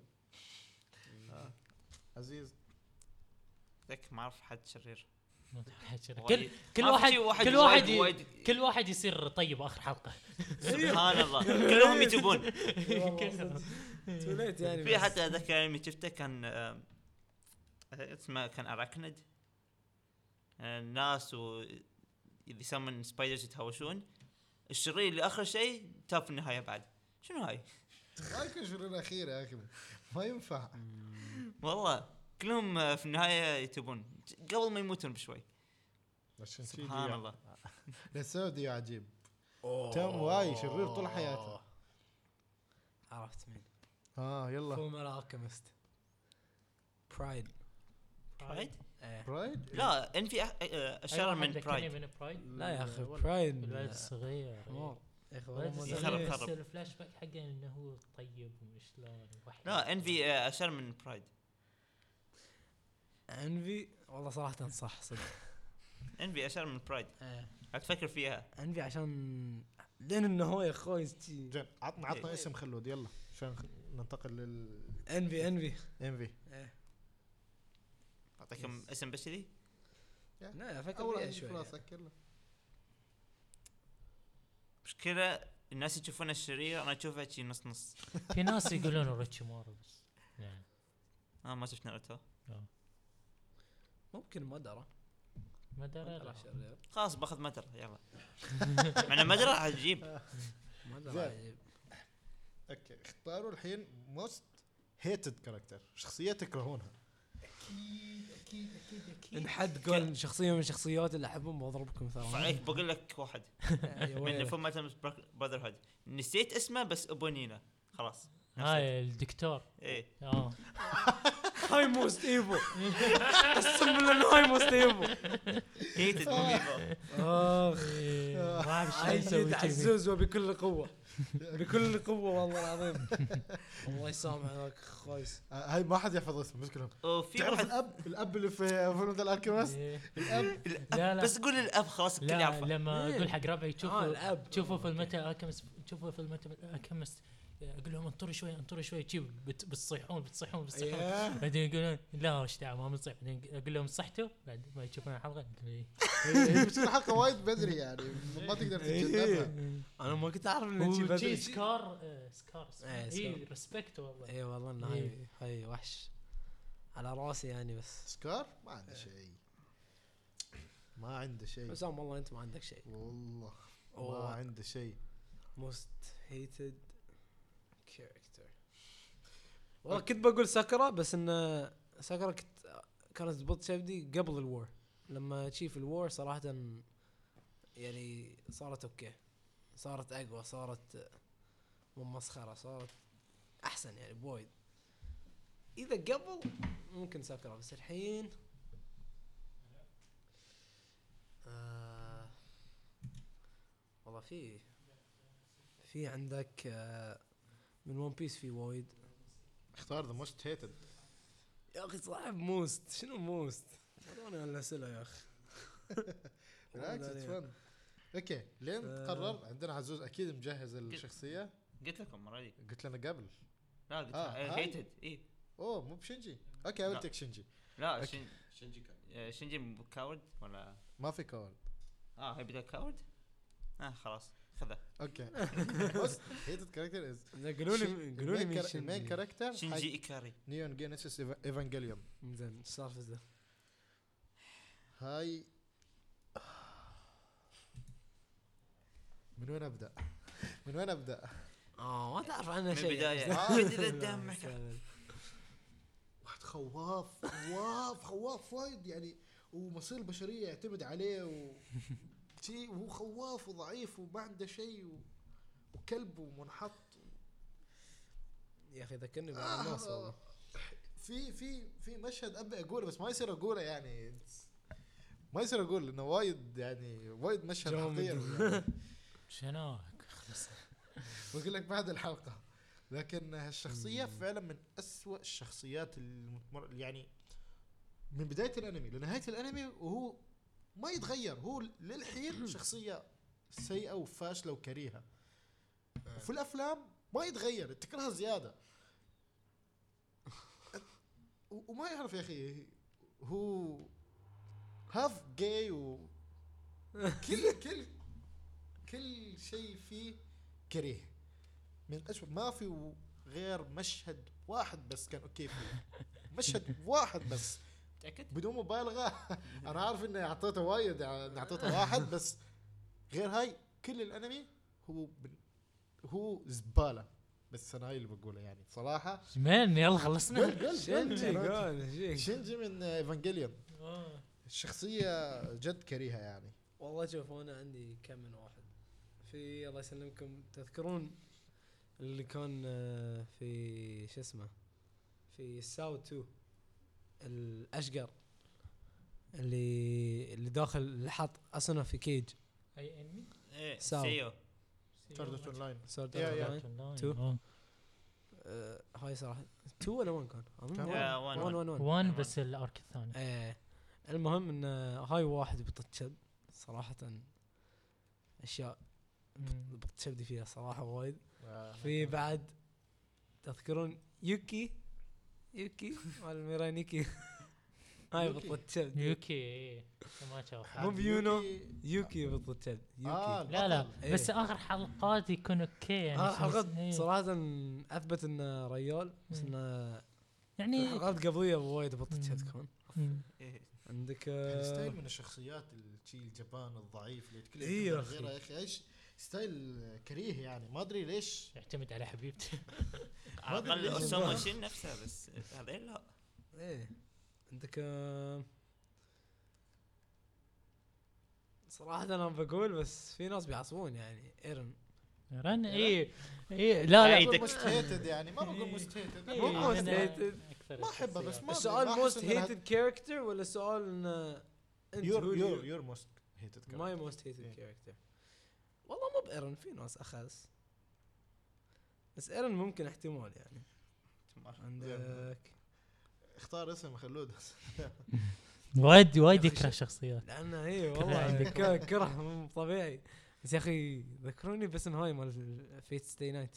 Speaker 1: *laughs* آه. عزيز
Speaker 3: ذاك ما اعرف حد شرير
Speaker 2: ما تحكي. كل
Speaker 3: وايد.
Speaker 2: كل
Speaker 3: ما في
Speaker 2: واحد
Speaker 3: شي
Speaker 2: كل واحد
Speaker 3: وايد-
Speaker 2: ي-
Speaker 3: وايد-
Speaker 2: كل واحد يصير طيب اخر حلقه
Speaker 3: *laughs* سبحان الله كلهم يتوبون
Speaker 4: توليت يعني
Speaker 3: في
Speaker 4: بس.
Speaker 3: حتى ذاك الانمي شفته كان آه، اسمه كان اراكند آه، الناس و اللي يسمون سبايدرز يتهاوشون الشرير اللي اخر شيء تاب في النهايه بعد شنو هاي؟
Speaker 1: ما يكون شرير اخير يا اخي ما ينفع
Speaker 3: والله كلهم آه، في النهايه يتوبون ج- قبل ما يموتون بشوي
Speaker 1: عشان يعني. شي
Speaker 3: سبحان
Speaker 1: دي-
Speaker 3: الله
Speaker 1: لسبب دي عجيب تم واي شرير طول حياته
Speaker 4: عرفت مين
Speaker 1: اه يلا
Speaker 4: فول ميتال الكيمست برايد
Speaker 3: *laughs* برايد؟
Speaker 4: ايه
Speaker 1: برايد
Speaker 3: لا ان في أح- آه،
Speaker 2: أيوة،
Speaker 3: الشر من برايد
Speaker 2: من برايد
Speaker 4: لا يا اخي
Speaker 1: ولا-
Speaker 4: برايد
Speaker 2: الولد الصغير
Speaker 4: حمار يا اخي
Speaker 2: الولد
Speaker 4: والله مو
Speaker 3: يخرب
Speaker 2: الصغير
Speaker 4: دفلامينجو.
Speaker 2: بس
Speaker 3: خرب.
Speaker 2: الفلاش باك حقه انه هو طيب وشلون وحش.
Speaker 3: لا ان في آه، الشر من برايد
Speaker 4: انفي والله صراحه صح صدق
Speaker 3: انبي اشهر من برايد
Speaker 1: إيه.
Speaker 4: آه،
Speaker 3: لا تفكر فيها
Speaker 4: انفي عشان لان انه هو يا اخوي شي-
Speaker 1: زين عطنا عطنا اسم خلود يلا عشان ننتقل لل
Speaker 4: انفي انفي
Speaker 1: ام في
Speaker 4: إيه.
Speaker 3: اعطيكم اسم بس كذي
Speaker 4: لا لا، فكر
Speaker 1: اول
Speaker 4: فيها
Speaker 1: عندي في
Speaker 4: شوي
Speaker 1: راسك يلا
Speaker 3: مشكله الناس يشوفون الشرير انا اشوفها شي نص نص
Speaker 2: في ناس يقولون ريتشي مورو بس يعني
Speaker 3: اه ما شفت ناروتو
Speaker 4: ممكن مدرة
Speaker 2: ما
Speaker 3: *laughs*
Speaker 2: درى
Speaker 4: مدرة
Speaker 2: لا.
Speaker 4: شرير
Speaker 3: خلاص باخذ مدر يلا *laughs* مع انه مدر راح تجيب
Speaker 4: مدرة يعني
Speaker 1: زين.
Speaker 4: عجيب.
Speaker 1: اوكي اختاروا الحين موست هيتد كاركتر شخصيه تكرهونها
Speaker 4: ان حد قال شخصيه من شخصيات اللي احبهم بضربكم *laughs* ترى
Speaker 3: عليك إيه، بقول لك واحد
Speaker 4: يا
Speaker 3: من
Speaker 4: ويلي.
Speaker 3: فول ميتال براذر هود نسيت اسمه بس ابو نينا خلاص
Speaker 2: هاي الدكتور
Speaker 3: ايه
Speaker 4: *laughs*
Speaker 2: اه
Speaker 4: هاي موست ايفو قسم بالله هاي موست ايفو
Speaker 3: هيتد
Speaker 1: *laughs*
Speaker 3: مو ايفو
Speaker 4: اخ
Speaker 2: إيه، ما اعرف ايش
Speaker 4: عيد
Speaker 2: اسوي
Speaker 4: عزوز وبكل قوه *laughs* بكل قوه والله العظيم *laughs* الله يسامح ذاك خويس
Speaker 1: آه، هاي ما حد يحفظ اسمه مشكلهم
Speaker 3: وفي
Speaker 1: تعرف
Speaker 3: واحد
Speaker 1: الاب الاب اللي في فيلم ذا الالكيمست
Speaker 2: إيه.
Speaker 1: الاب
Speaker 2: لا لا
Speaker 3: بس قول الاب خلاص الكل
Speaker 2: لا
Speaker 3: يعرفه
Speaker 2: لما
Speaker 4: إيه.
Speaker 2: اقول حق ربعي
Speaker 4: آه،
Speaker 2: شوفوا
Speaker 4: الأب.
Speaker 2: شوفوا في المتى الكيمست شوفوا في المتى الكيمست اقول لهم انطروا شوي انطروا شوي تجيب بت- بتصيحون بتصيحون بتصيحون
Speaker 1: *laughs* إيه.
Speaker 2: بعدين يقولون لا ايش دعوه ما بنصيح بعدين اقول لهم صحتوا بعد ما يشوفون الحلقه يقولون إيه.
Speaker 1: هي بتصير حلقه وايد بدري يعني ما تقدر تتجنبها
Speaker 4: انا إيه. ما كنت اعرف انه
Speaker 2: وشي
Speaker 4: شي بدري
Speaker 2: سكار آه، سكار اسمه.
Speaker 4: إيه،
Speaker 2: اي
Speaker 4: سكار. إيه.
Speaker 2: ريسبكت والله
Speaker 4: اي والله انه هاي هاي وحش على راسي يعني بس
Speaker 1: سكار ما عنده شيء ما عنده شيء
Speaker 4: حسام والله انت ما عندك شيء
Speaker 1: والله ما
Speaker 4: أوه.
Speaker 1: عنده شيء
Speaker 4: موست هيتد كاركتر والله كنت بقول ساكرا بس انه ساكرا كنت كانت تبط شبدي قبل الوور لما تشيف الوور صراحة يعني صارت اوكي صارت اقوى صارت مو مسخرة صارت احسن يعني بوايد اذا قبل ممكن ساكرا بس الحين آه والله في في عندك آه، من ون بيس في وايد
Speaker 1: اختار ذا موست هيتد
Speaker 4: *laughs* يا اخي صعب موست شنو موست؟ خلوني على الاسئله يا اخي
Speaker 1: بالعكس
Speaker 4: والله
Speaker 1: it's
Speaker 4: لا.
Speaker 1: fun. اوكي لين
Speaker 4: آه.
Speaker 1: قرر عندنا عزوز اكيد مجهز الشخصيه
Speaker 3: قلت لكم اوريدي
Speaker 1: قلت لنا قبل
Speaker 3: لا قلت إيه،
Speaker 1: آه، هاي.
Speaker 3: هيتد اي
Speaker 1: اوه مو بشنجي اوكي اول
Speaker 3: لا.
Speaker 1: تك شنجي
Speaker 3: لا
Speaker 1: أوكي.
Speaker 3: شن-
Speaker 5: شنجي كان
Speaker 3: آه، شنجي كاورد ولا
Speaker 1: ما في كورد
Speaker 3: اه هي بدها كاورد اه خلاص خذها
Speaker 4: *laughs*
Speaker 1: اوكي موست هيتد كاركتر از
Speaker 4: لا، قولوا لي قولوا لي مين
Speaker 1: المين
Speaker 4: شنجي
Speaker 1: كاركتر
Speaker 3: شنجي ايكاري
Speaker 1: نيون جينيسيس ايفانجيليون
Speaker 4: زين ايش سالفته؟
Speaker 1: هاي من وين ابدا؟ من وين ابدا؟
Speaker 4: اه ما تعرف عنها
Speaker 3: من
Speaker 4: شيء
Speaker 1: *laughs*
Speaker 3: البداية. *laughs*
Speaker 4: آه،
Speaker 3: بدي
Speaker 4: لا،
Speaker 3: أدمك.
Speaker 4: استهبل.
Speaker 1: واحد خواف خواف خواف وايد يعني ومصير البشريه يعتمد عليه و شي وهو خواف وضعيف وما عنده شيء و... وكلب ومنحط
Speaker 4: يا اخي ذكرني بعض الناس والله
Speaker 1: في في في مشهد ابي اقوله بس ما يصير اقوله يعني ما يصير اقول انه وايد يعني وايد مشهد
Speaker 4: جامد.
Speaker 1: خطير يعني.
Speaker 2: شناك خلص
Speaker 1: بقول لك بعد الحلقه لكن هالشخصيه فعلا من أسوأ الشخصيات المتمر يعني من بدايه الانمي لنهايه الانمي وهو ما يتغير هو للحين شخصيه سيئه وفاشله وكريهه وفي الافلام ما يتغير تكرهها زياده و- وما يعرف يا اخي هو هاف جاي و كل كل كل شيء فيه كريه من أسوأ ما في غير مشهد واحد بس كان اوكي فيه مشهد واحد بس
Speaker 3: متاكد؟
Speaker 1: بدون مبالغه انا عارف اني اعطيته وايد يعني اعطيته واحد بس غير هاي كل الانمي هو بن- هو زباله بس انا هاي اللي بقوله يعني صراحه
Speaker 2: من يلا
Speaker 1: قول-
Speaker 4: *laughs*
Speaker 2: خلصنا
Speaker 1: قول- قول.
Speaker 4: شنجي قول شيك.
Speaker 1: شنجي من ايفانجيليون
Speaker 2: آه.
Speaker 1: الشخصيه جد كريهه يعني
Speaker 4: والله شوف انا عندي كم من واحد في الله يسلمكم تذكرون اللي كان آه، في شو اسمه في ساو 2 الاشقر اللي اللي داخل اللي حط اسنه في كيج
Speaker 2: اي انمي
Speaker 3: ايه
Speaker 4: ساو.
Speaker 3: سيو
Speaker 1: سورد اون لاين
Speaker 4: سورد
Speaker 1: يا-
Speaker 4: أونلاين.
Speaker 1: يا.
Speaker 2: Oh. Online.
Speaker 4: تو.
Speaker 2: آه.
Speaker 4: آه، هاي صراحه 2 ولا 1 كان؟ اظن
Speaker 1: كان
Speaker 4: 1
Speaker 3: one.
Speaker 4: 1 1
Speaker 2: وان بس الارك الثاني
Speaker 4: ايه المهم ان هاي واحد بتتشب صراحة اشياء Mm.
Speaker 2: مم.
Speaker 4: بتتشبدي فيها صراحة وايد
Speaker 1: آه،
Speaker 4: في بعد تذكرون يوكي يوكي مال
Speaker 1: *laughs*
Speaker 4: ميرانيكي هاي
Speaker 1: يوكي.
Speaker 4: بتتشبد
Speaker 2: يوكي إيه. ما شافها
Speaker 1: حق
Speaker 4: مو بيونو.
Speaker 1: يوكي.
Speaker 4: يوكي بتتشبد
Speaker 1: آه،
Speaker 4: يوكي
Speaker 2: لا لا
Speaker 4: إيه.
Speaker 2: بس اخر حلقات يكون اوكي يعني
Speaker 4: اه
Speaker 2: شو-
Speaker 4: حلقات
Speaker 2: إيه.
Speaker 4: صراحة اثبت انه ريال بس
Speaker 2: مم.
Speaker 4: انه
Speaker 2: يعني
Speaker 4: الحلقات قبلية وايد بتتشبد
Speaker 2: مم.
Speaker 4: كان
Speaker 2: مم.
Speaker 3: إيه.
Speaker 4: عندك
Speaker 1: يعني
Speaker 4: آه،
Speaker 1: ستايل من الشخصيات ال- شي الجبان الضعيف اللي يتكلم
Speaker 4: إيه
Speaker 1: كلام
Speaker 4: يا أخي.
Speaker 1: غيره يا اخي ايش ستايل كريه يعني ما ادري ليش
Speaker 2: يعتمد على حبيبته
Speaker 3: على
Speaker 1: ما أدري
Speaker 3: الاقل
Speaker 1: ليش
Speaker 3: اسامه
Speaker 1: والله.
Speaker 3: شين نفسها بس هذين لا
Speaker 4: ايه عندك آه، صراحة انا بقول بس في ناس بيعصبون يعني ايرن *laughs*
Speaker 2: رن اي اي لا
Speaker 1: بقول
Speaker 2: لا
Speaker 3: عيدك.
Speaker 1: most hated يعني ما بقول
Speaker 4: *laughs*
Speaker 1: most hated
Speaker 2: إيه،
Speaker 4: مو most
Speaker 2: أنا
Speaker 4: hated.
Speaker 2: أكثر
Speaker 1: ما أحبه بس ما-
Speaker 4: السؤال
Speaker 1: أدري، أحس
Speaker 4: موست
Speaker 1: إن هاد-
Speaker 4: هيتد كاركتر ولا سؤال ان آه، انت
Speaker 1: يور يور
Speaker 4: هو
Speaker 1: يور موست هيتد
Speaker 4: ماي موست هيتد
Speaker 1: إيه.
Speaker 4: كاركتر والله مو بايرن في ناس اخس بس ايرن ممكن احتمال يعني عندك
Speaker 1: اختار اسم خلود
Speaker 2: وايد وايد
Speaker 4: يا أخي
Speaker 2: يكره
Speaker 4: شو-
Speaker 2: شخصيات
Speaker 4: لانه اي
Speaker 2: عندك.
Speaker 4: إيه، والله ك- كره مو طبيعي بس يا اخي ذكروني باسم هاي مال فيت ستي نايت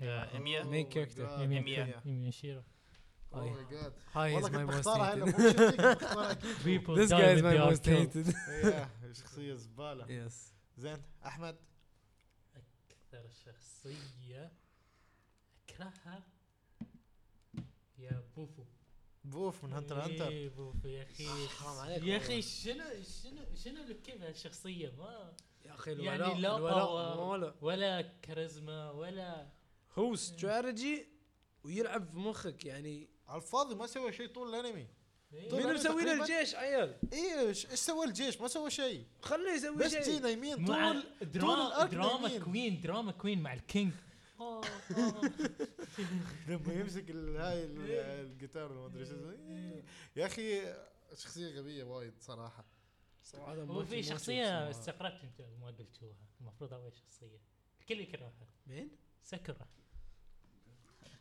Speaker 4: آه،
Speaker 1: Oh
Speaker 3: اميا
Speaker 4: Main character.
Speaker 2: يميا يميا
Speaker 4: *laughs*
Speaker 2: شيرو
Speaker 1: اوه
Speaker 4: هاي
Speaker 1: ماي جاد
Speaker 4: هاي
Speaker 1: Oh والله
Speaker 4: از ماي
Speaker 1: كنت
Speaker 4: موست
Speaker 1: بختارها انا مو شفتك
Speaker 4: هيتد *laughs*
Speaker 1: بختارها اكيد
Speaker 2: people
Speaker 4: This
Speaker 2: die
Speaker 4: guy is
Speaker 2: when
Speaker 4: my
Speaker 2: they are
Speaker 4: most
Speaker 2: killed.
Speaker 1: *laughs*
Speaker 4: hated.
Speaker 1: إيه، شخصيه زباله
Speaker 4: Yes.
Speaker 1: زين احمد
Speaker 2: اكثر شخصيه اكرهها يا بوفو
Speaker 1: بوف من هانتر هانتر
Speaker 2: إيه بوفو يا اخي
Speaker 4: آه، حرام عليك
Speaker 2: يا
Speaker 4: والله.
Speaker 2: اخي شنو شنو شنو اللي كيف هالشخصيه ما
Speaker 4: يا اخي الولاء
Speaker 2: يعني لا
Speaker 4: الولاء
Speaker 2: باور
Speaker 4: ماله.
Speaker 2: ولا كاريزما ولا
Speaker 4: هو استراتيجي ويلعب في مخك يعني
Speaker 1: على الفاضي ما سوى شيء طول الانمي
Speaker 2: إيه.
Speaker 1: طيب
Speaker 4: مين
Speaker 1: أنا
Speaker 4: مسوي له
Speaker 1: تقريباً-
Speaker 4: الجيش عيال
Speaker 1: ايش ايش سوى الجيش ما سوى شيء
Speaker 4: خليه يسوي
Speaker 1: بس
Speaker 4: شيء
Speaker 1: جينا يمين
Speaker 2: مع
Speaker 1: طول
Speaker 2: دراما
Speaker 1: الأرك
Speaker 2: دراما
Speaker 1: نايمين.
Speaker 2: كوين دراما كوين مع الكينج آه، أوه، أوه.
Speaker 1: *laughs* لما يمسك ال- هاي ال- الجيتار وما ادري شو
Speaker 2: إيه.
Speaker 1: يا اخي شخصيه غبيه وايد صراحه
Speaker 4: صراحة ما ما
Speaker 2: وفي
Speaker 4: شفت
Speaker 2: شخصيه
Speaker 4: صراحة.
Speaker 2: استغربت انت ما قلتوها المفروض اول شخصيه الكل يكرهها
Speaker 4: مين؟
Speaker 2: سكرة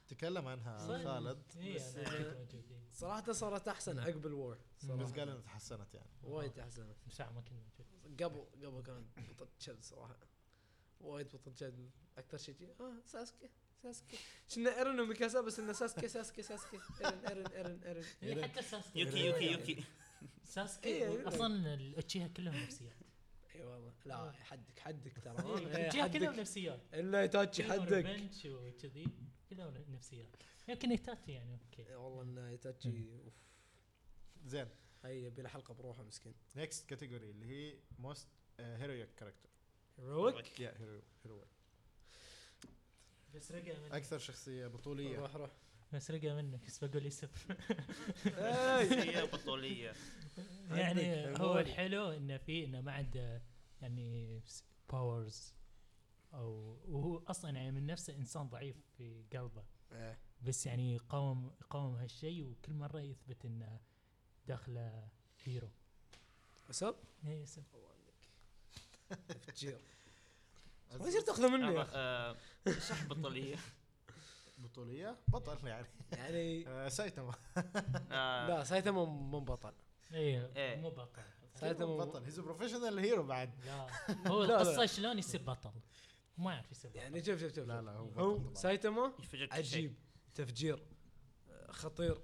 Speaker 1: تكلم عنها آه، خالد
Speaker 2: اي
Speaker 4: بس-
Speaker 2: انا إيه، كنت موجود إيه.
Speaker 4: صراحة صارت احسن عقب الوار صراحة.
Speaker 1: بس قال انها تحسنت يعني
Speaker 4: وايد احسن
Speaker 2: من ساعة ما كنت موجود
Speaker 4: قبل قبل كان بطل صراحة وايد بطل اكثر شيء جي. اه ساسكي ساسكي كنا ايرن وميكاسا بس انه ساسكي ساسكي ساسكي ايرن ايرن ايرن ايرن
Speaker 2: إيه، حتى ساسكي
Speaker 3: يوكي يوكي *laughs* يوكي
Speaker 2: ساسكي
Speaker 4: إيه.
Speaker 2: اصلا الاتشيها كلهم نفسيات
Speaker 4: اي والله لا حدك حدك ترى
Speaker 2: الاتشيها كلهم نفسيات
Speaker 4: الا
Speaker 2: إيه،
Speaker 4: يتاتشي إيه، حدك
Speaker 2: ريفنش وكذي كلهم نفسيات يمكن يتاتي يعني اوكي
Speaker 4: إي والله انه يتاتشي اوف
Speaker 1: زين
Speaker 4: هي يبي له حلقه بروحه مسكين
Speaker 1: نيكست كاتيجوري اللي هي آه، موست هيرويك كاركتر
Speaker 4: هيرويك
Speaker 1: يا هيرويك
Speaker 2: بس رقع منك
Speaker 1: اكثر شخصيه بطوليه
Speaker 4: روح روح
Speaker 2: بس رقع منك بس بقول اسم
Speaker 4: اي
Speaker 3: *laughs* هي بطوليه
Speaker 2: يعني
Speaker 4: عندك
Speaker 2: هو
Speaker 4: هيرويك.
Speaker 2: الحلو انه في انه ما عنده يعني باورز او وهو اصلا يعني من نفسه انسان ضعيف في قلبه
Speaker 4: إيه.
Speaker 2: بس يعني يقاوم يقاوم هالشيء وكل مره يثبت انه داخله هيرو
Speaker 4: اسب
Speaker 2: إيه، يس-
Speaker 4: تفجير ما يصير تاخذه مني يا أخي.
Speaker 3: آه، آه، صح بطوليه
Speaker 1: بطوليه بطل يعني
Speaker 4: يعني
Speaker 1: آه، سايتاما
Speaker 3: آه،
Speaker 4: لا سايتاما مو بطل
Speaker 2: ايه
Speaker 3: إيه.
Speaker 2: مو بطل
Speaker 4: سايتاما مو-
Speaker 1: بطل هيز بروفيشنال هيرو بعد
Speaker 2: لا هو
Speaker 4: *laughs* لا، لا.
Speaker 2: القصه شلون يصير بطل ما يعرف يصير بطل
Speaker 4: يعني شوف شوف شوف
Speaker 1: لا لا هو بطل
Speaker 4: هو
Speaker 1: طبعاً.
Speaker 4: سايتاما
Speaker 3: يفجر كل شيء.
Speaker 4: عجيب تفجير آه، خطير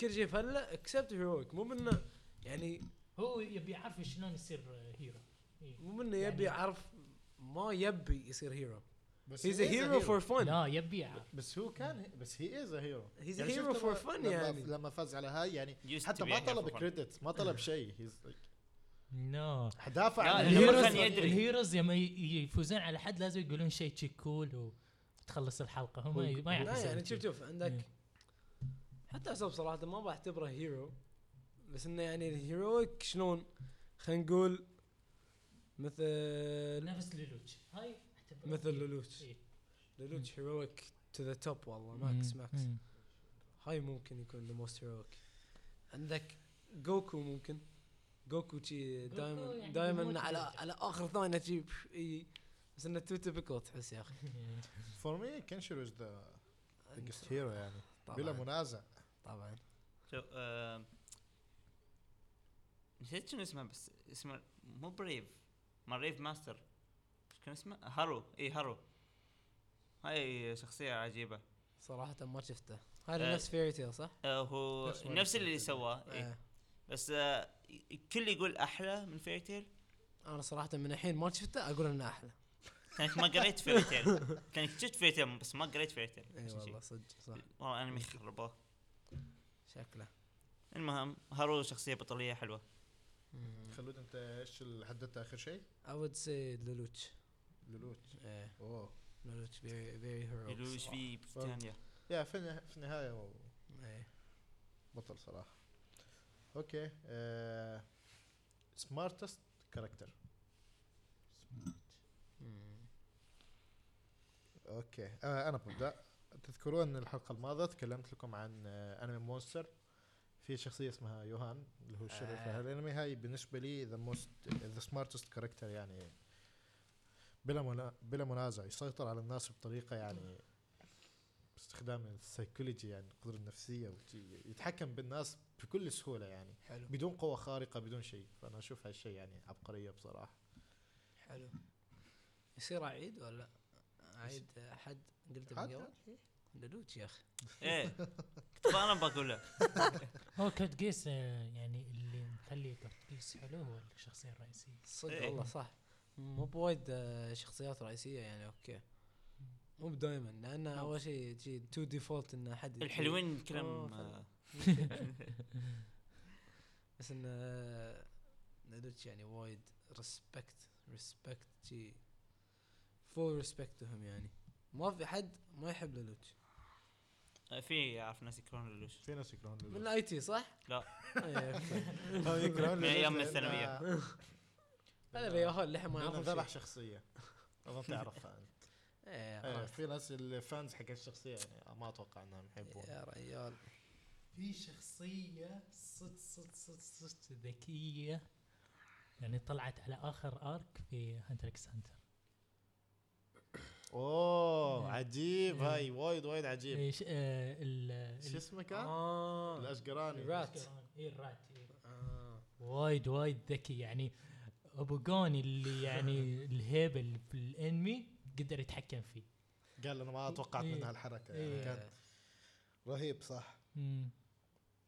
Speaker 4: كل شيء فله اكسبت هيرويك مو منه يعني
Speaker 2: هو يبي يعرف شلون يصير هيرو إيه.
Speaker 4: مو منه
Speaker 2: يعني-
Speaker 4: يبي يعرف ما يبي يصير هيرو
Speaker 1: بس
Speaker 4: هيز
Speaker 1: he
Speaker 4: ا
Speaker 1: is a
Speaker 4: هيرو
Speaker 1: hero.
Speaker 4: فور فن
Speaker 2: لا يبي يعرف
Speaker 1: بس هو كان بس هي از هيرو
Speaker 4: He's a hero for fun يعني.
Speaker 1: يعني لما فاز على هاي يعني
Speaker 3: Used
Speaker 1: حتى
Speaker 3: to be
Speaker 1: ما
Speaker 3: a hero
Speaker 1: طلب
Speaker 3: for fun.
Speaker 1: كريدت ما طلب شيء هيز لايك
Speaker 2: نو
Speaker 1: دافع
Speaker 3: لا،
Speaker 1: عن
Speaker 3: لا،
Speaker 1: الهيرو.
Speaker 3: ما
Speaker 2: الهيروز
Speaker 3: كان يدري.
Speaker 2: الهيروز لما ي- يفوزون على حد لازم يقولون شيء شي كول وتخلص الحلقه هم ما ي- ما يعرفون
Speaker 4: لا
Speaker 2: يسوون
Speaker 4: يعني
Speaker 2: شي.
Speaker 4: شوف شوف عندك
Speaker 1: إيه.
Speaker 4: حتى اسوب صراحه ما بعتبره هيرو بس انه يعني الهيرويك شلون خلينا نقول مثل
Speaker 2: نفس لولوتش هاي أعتبر-
Speaker 4: مثل لولوتش Oh,
Speaker 2: إيه.
Speaker 4: لولوتش هيرويك تو ذا توب والله ماكس
Speaker 2: مم.
Speaker 4: ماكس
Speaker 2: مم.
Speaker 4: هاي ممكن يكون ذا موست هيرويك عندك جوكو ممكن جوكو شي
Speaker 2: جوكو
Speaker 4: دائما
Speaker 2: يعني
Speaker 4: دائما
Speaker 2: يموت
Speaker 4: على
Speaker 2: ويرجع.
Speaker 4: على اخر ثانيه
Speaker 2: *laughs*
Speaker 4: شي بف- إي. بس انه تو تيبكال تحس يا اخي
Speaker 1: فور مي كنشيرو از ذا بيجست هيرو يعني بلا
Speaker 4: طبعا
Speaker 1: منازع
Speaker 4: طبعا
Speaker 3: شوف آه، نسيت شنو اسمه بس اسمه مو بريف مال ريف ماستر كان اسمه هارو اي هارو هاي شخصية عجيبة
Speaker 4: صراحة ما شفته هذا
Speaker 3: آه.
Speaker 4: نفس فيري تيل صح؟
Speaker 3: آه هو
Speaker 1: نفس ما
Speaker 3: نفس
Speaker 1: قلت
Speaker 3: اللي
Speaker 1: لك.
Speaker 3: سواه إيه.
Speaker 4: آه.
Speaker 3: بس آه الكل يقول احلى من فيري تيل
Speaker 4: انا صراحة من الحين ما شفته اقول انه احلى
Speaker 3: كانك ما قريت فيري تيل كانك شفت فيري تيل بس ما قريت فيري تيل
Speaker 4: اي
Speaker 3: عشان شي.
Speaker 4: إيه، والله صدق صح
Speaker 3: والله انمي خربوه
Speaker 4: شكله
Speaker 3: المهم هارو شخصية بطلية حلوة
Speaker 1: خلود انت ايش اللي حددت اخر شيء؟
Speaker 4: I would say لولوتش
Speaker 1: لولوت
Speaker 4: ايه
Speaker 1: اوه
Speaker 4: لولوتش very very hero
Speaker 3: يقولوا ايش في بريطانيا
Speaker 1: يا في النها- في النهايه هو
Speaker 4: ايه
Speaker 1: بطل آه، صراحه اوكي سمارتست كاركتر
Speaker 4: مم. اوكي
Speaker 1: اوكي آه انا ببدا تذكرون ان الحلقه الماضيه تكلمت لكم عن آه انمي مونستر في شخصيه اسمها يوهان اللي هو الشرير في
Speaker 4: آه.
Speaker 1: الانمي هاي بالنسبه لي ذا موست ذا سمارتست كاركتر يعني بلا منا- بلا منازع يسيطر على الناس بطريقه يعني باستخدام السيكولوجي يعني القدره النفسيه وشي- يتحكم بالناس بكل سهوله يعني
Speaker 4: حلو
Speaker 1: بدون قوه خارقه بدون شيء فانا اشوف هالشيء يعني عبقريه بصراحه
Speaker 4: حلو يصير اعيد ولا اعيد احد قلت من
Speaker 1: عاد-
Speaker 4: قبل
Speaker 1: عاد. إيه.
Speaker 4: لولوتش يا اخي
Speaker 3: ايه كنت انا بقولها
Speaker 2: هو كود جيس آه، يعني اللي مخلي كود جيس حلو هو الشخصيه الرئيسيه
Speaker 4: صدق
Speaker 3: إيه.
Speaker 4: والله صح مو بوايد آه، شخصيات رئيسية يعني اوكي مو بدايما لان اول شيء تجي تو ديفولت ان احد
Speaker 3: نعم. الحلوين كلام
Speaker 4: آه،
Speaker 3: آه،
Speaker 4: *laughs* بس ان آه، نادوتش يعني وايد ريسبكت ريسبكت جي فول ريسبكت لهم يعني ما في حد ما يحب لالوتش
Speaker 3: آه، في اعرف ناس يكرهون لولوش
Speaker 1: في ناس يكرهون
Speaker 4: من
Speaker 1: لولوت.
Speaker 4: الاي تي صح؟
Speaker 3: لا.
Speaker 4: إيه، أوكي.
Speaker 1: هم *laughs* يكرهون
Speaker 3: من أيام
Speaker 1: لولوت لأن-
Speaker 3: الثانوية.
Speaker 1: *laughs*
Speaker 4: هذا الياهول لحم ما
Speaker 1: لأنه
Speaker 4: يعرف
Speaker 1: ذبح شخصيه اظن تعرفها انت إيه،
Speaker 4: ايه
Speaker 1: في ناس الفانز حق الشخصيه يعني ما اتوقع انهم يحبون
Speaker 4: إيه، يا ريال
Speaker 2: في شخصية صد صد صد صد ذكية يعني طلعت على اخر ارك في هانتر اكس هانتر
Speaker 1: اوه
Speaker 2: إيه.
Speaker 1: عجيب
Speaker 2: إيه.
Speaker 1: هاي وايد وايد عجيب
Speaker 2: ايش آه، ال
Speaker 1: شو
Speaker 2: ال-
Speaker 1: اسمه كان؟
Speaker 4: اه
Speaker 1: الاشقراني
Speaker 4: الرات.
Speaker 2: اي الرات إي.
Speaker 4: آه.
Speaker 2: إيه. وايد وايد ذكي يعني ابو جوني اللي
Speaker 4: *laughs*
Speaker 2: يعني الهيبه اللي في الانمي قدر يتحكم فيه
Speaker 1: قال انا ما توقعت
Speaker 2: إيه.
Speaker 1: منها الحركه يعني
Speaker 2: إيه.
Speaker 1: كان
Speaker 4: إيه،
Speaker 1: رهيب صح
Speaker 2: مم.